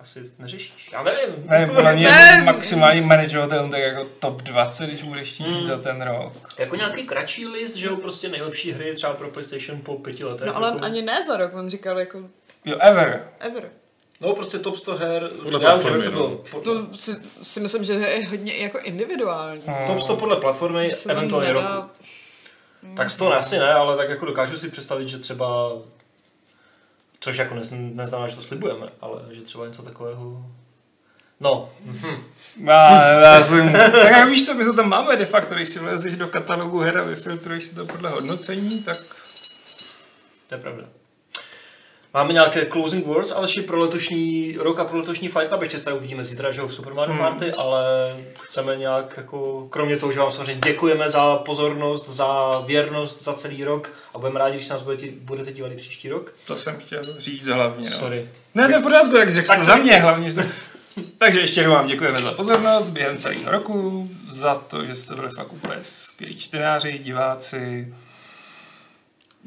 asi neřešíš. Já nevím. Nevím, podle mě Ne. je to maximálně manageovatelný tak jako top 20, když budeš chtít Hmm. mm. za ten rok. Jako nějaký kratší list, že jo, prostě nejlepší hry třeba pro PlayStation po pěti letech. No ale jako... ani ne za rok, on říkal jako Jo, ever. ever. No prostě top 100 her, Podle já už nevím, jak platformy, to no. bylo. Po- To si, si myslím, že je hodně i jako individuální. Top 100 podle platformy, To se Hmm. eventuálně nedá- roku. Tak 100 ne, asi ne, ale tak jako dokážu si představit, že třeba, což jako nez, neznamená, že to slibujeme, ale že třeba něco takového, no, Já, já jsem, tak jak víš co, my to tam máme de facto, když si vlezeš do katalogu her a vyfiltruješ si to podle hodnocení, tak to je pravda. Máme nějaké closing words, ale ještě pro letošní rok a pro letošní Fight Club, ještě se tady uvidíme zítra, že jo, v Super Mario Hmm. Party, ale chceme nějak jako, kromě toho, že vám samozřejmě děkujeme za pozornost, za věrnost, za celý rok a budeme rádi, když se nás budete, budete dívat i příští rok. to jsem chtěl říct hlavně. No. Sorry. Ne, to je v pořádku, tak řekl Tak jste to za mě hlavně. že- Takže ještě jednou vám děkujeme za pozornost během celého roku, za to, že jste byli fakt úplně skvělí čtenáři, diváci.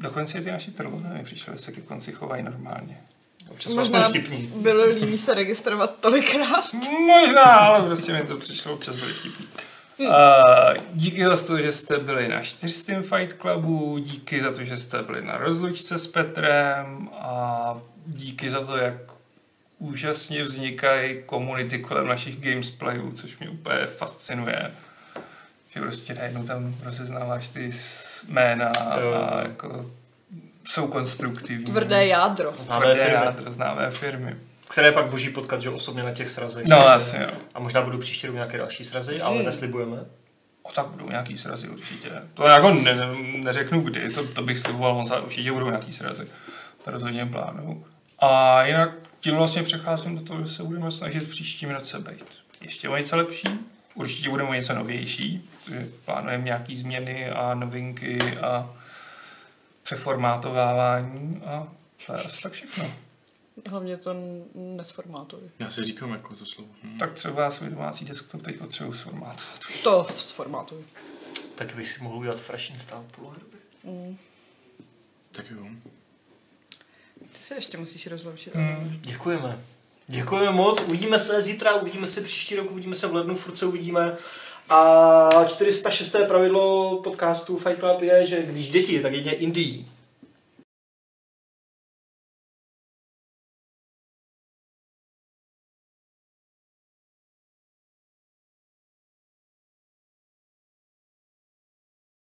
Dokonce i ty naši trlové mi přišlo, že se ke konci chovají normálně. Občas vás Možná bude vtipný. bylo líní se registrovat tolikrát. Možná, ale prostě mi to přišlo, občas byli vtipný. Uh, díky za to, že jste byli na 400. Fight Clubu, díky za to, že jste byli na rozlučce s Petrem a díky za to, jak úžasně vznikají komunity kolem našich gamesplayů, což mě úplně fascinuje. Že prostě najednou tam rozeznáváš ty s- jména Jo, jo. a jako jsou konstruktivní. Tvrdé jádro. Známé Tvrdé firmy. jádra, známé firmy. které pak boží potkat, že jo, osobně na těch srazech. No, jasně, no. A možná budou příští rok nějaké další srazy, ale Hmm. neslibujeme. O, tak budou nějaký srazy určitě. To jako ne, ne, neřeknu kdy, to, to bych sliboval Honza, určitě budou nějaký srazy. To rozhodně plánu. A jinak tím vlastně přecházím do toho, že se budeme snažit v příštím roce být ještě o něco lepší. Určitě budeme o něco novější, protože plánujeme nějaký změny a novinky a přeformátovávání a to je asi tak všechno. Hlavně to n- nesformátuj. Já si říkám jako to slovo. Hm. Tak třeba já svůj domácí desktop teď potřebuji sformátovat. To sformátuj. Tak bych si mohl udělat fresh install polohrby. Tak jo. Ty se ještě musíš rozloučit. Hmm. Děkujeme. Děkujeme moc, uvidíme se zítra, uvidíme se příští rok, uvidíme se v lednu, furt se uvidíme. A 406. pravidlo podcastu Fight Club je, že když děti, tak jedině Indii.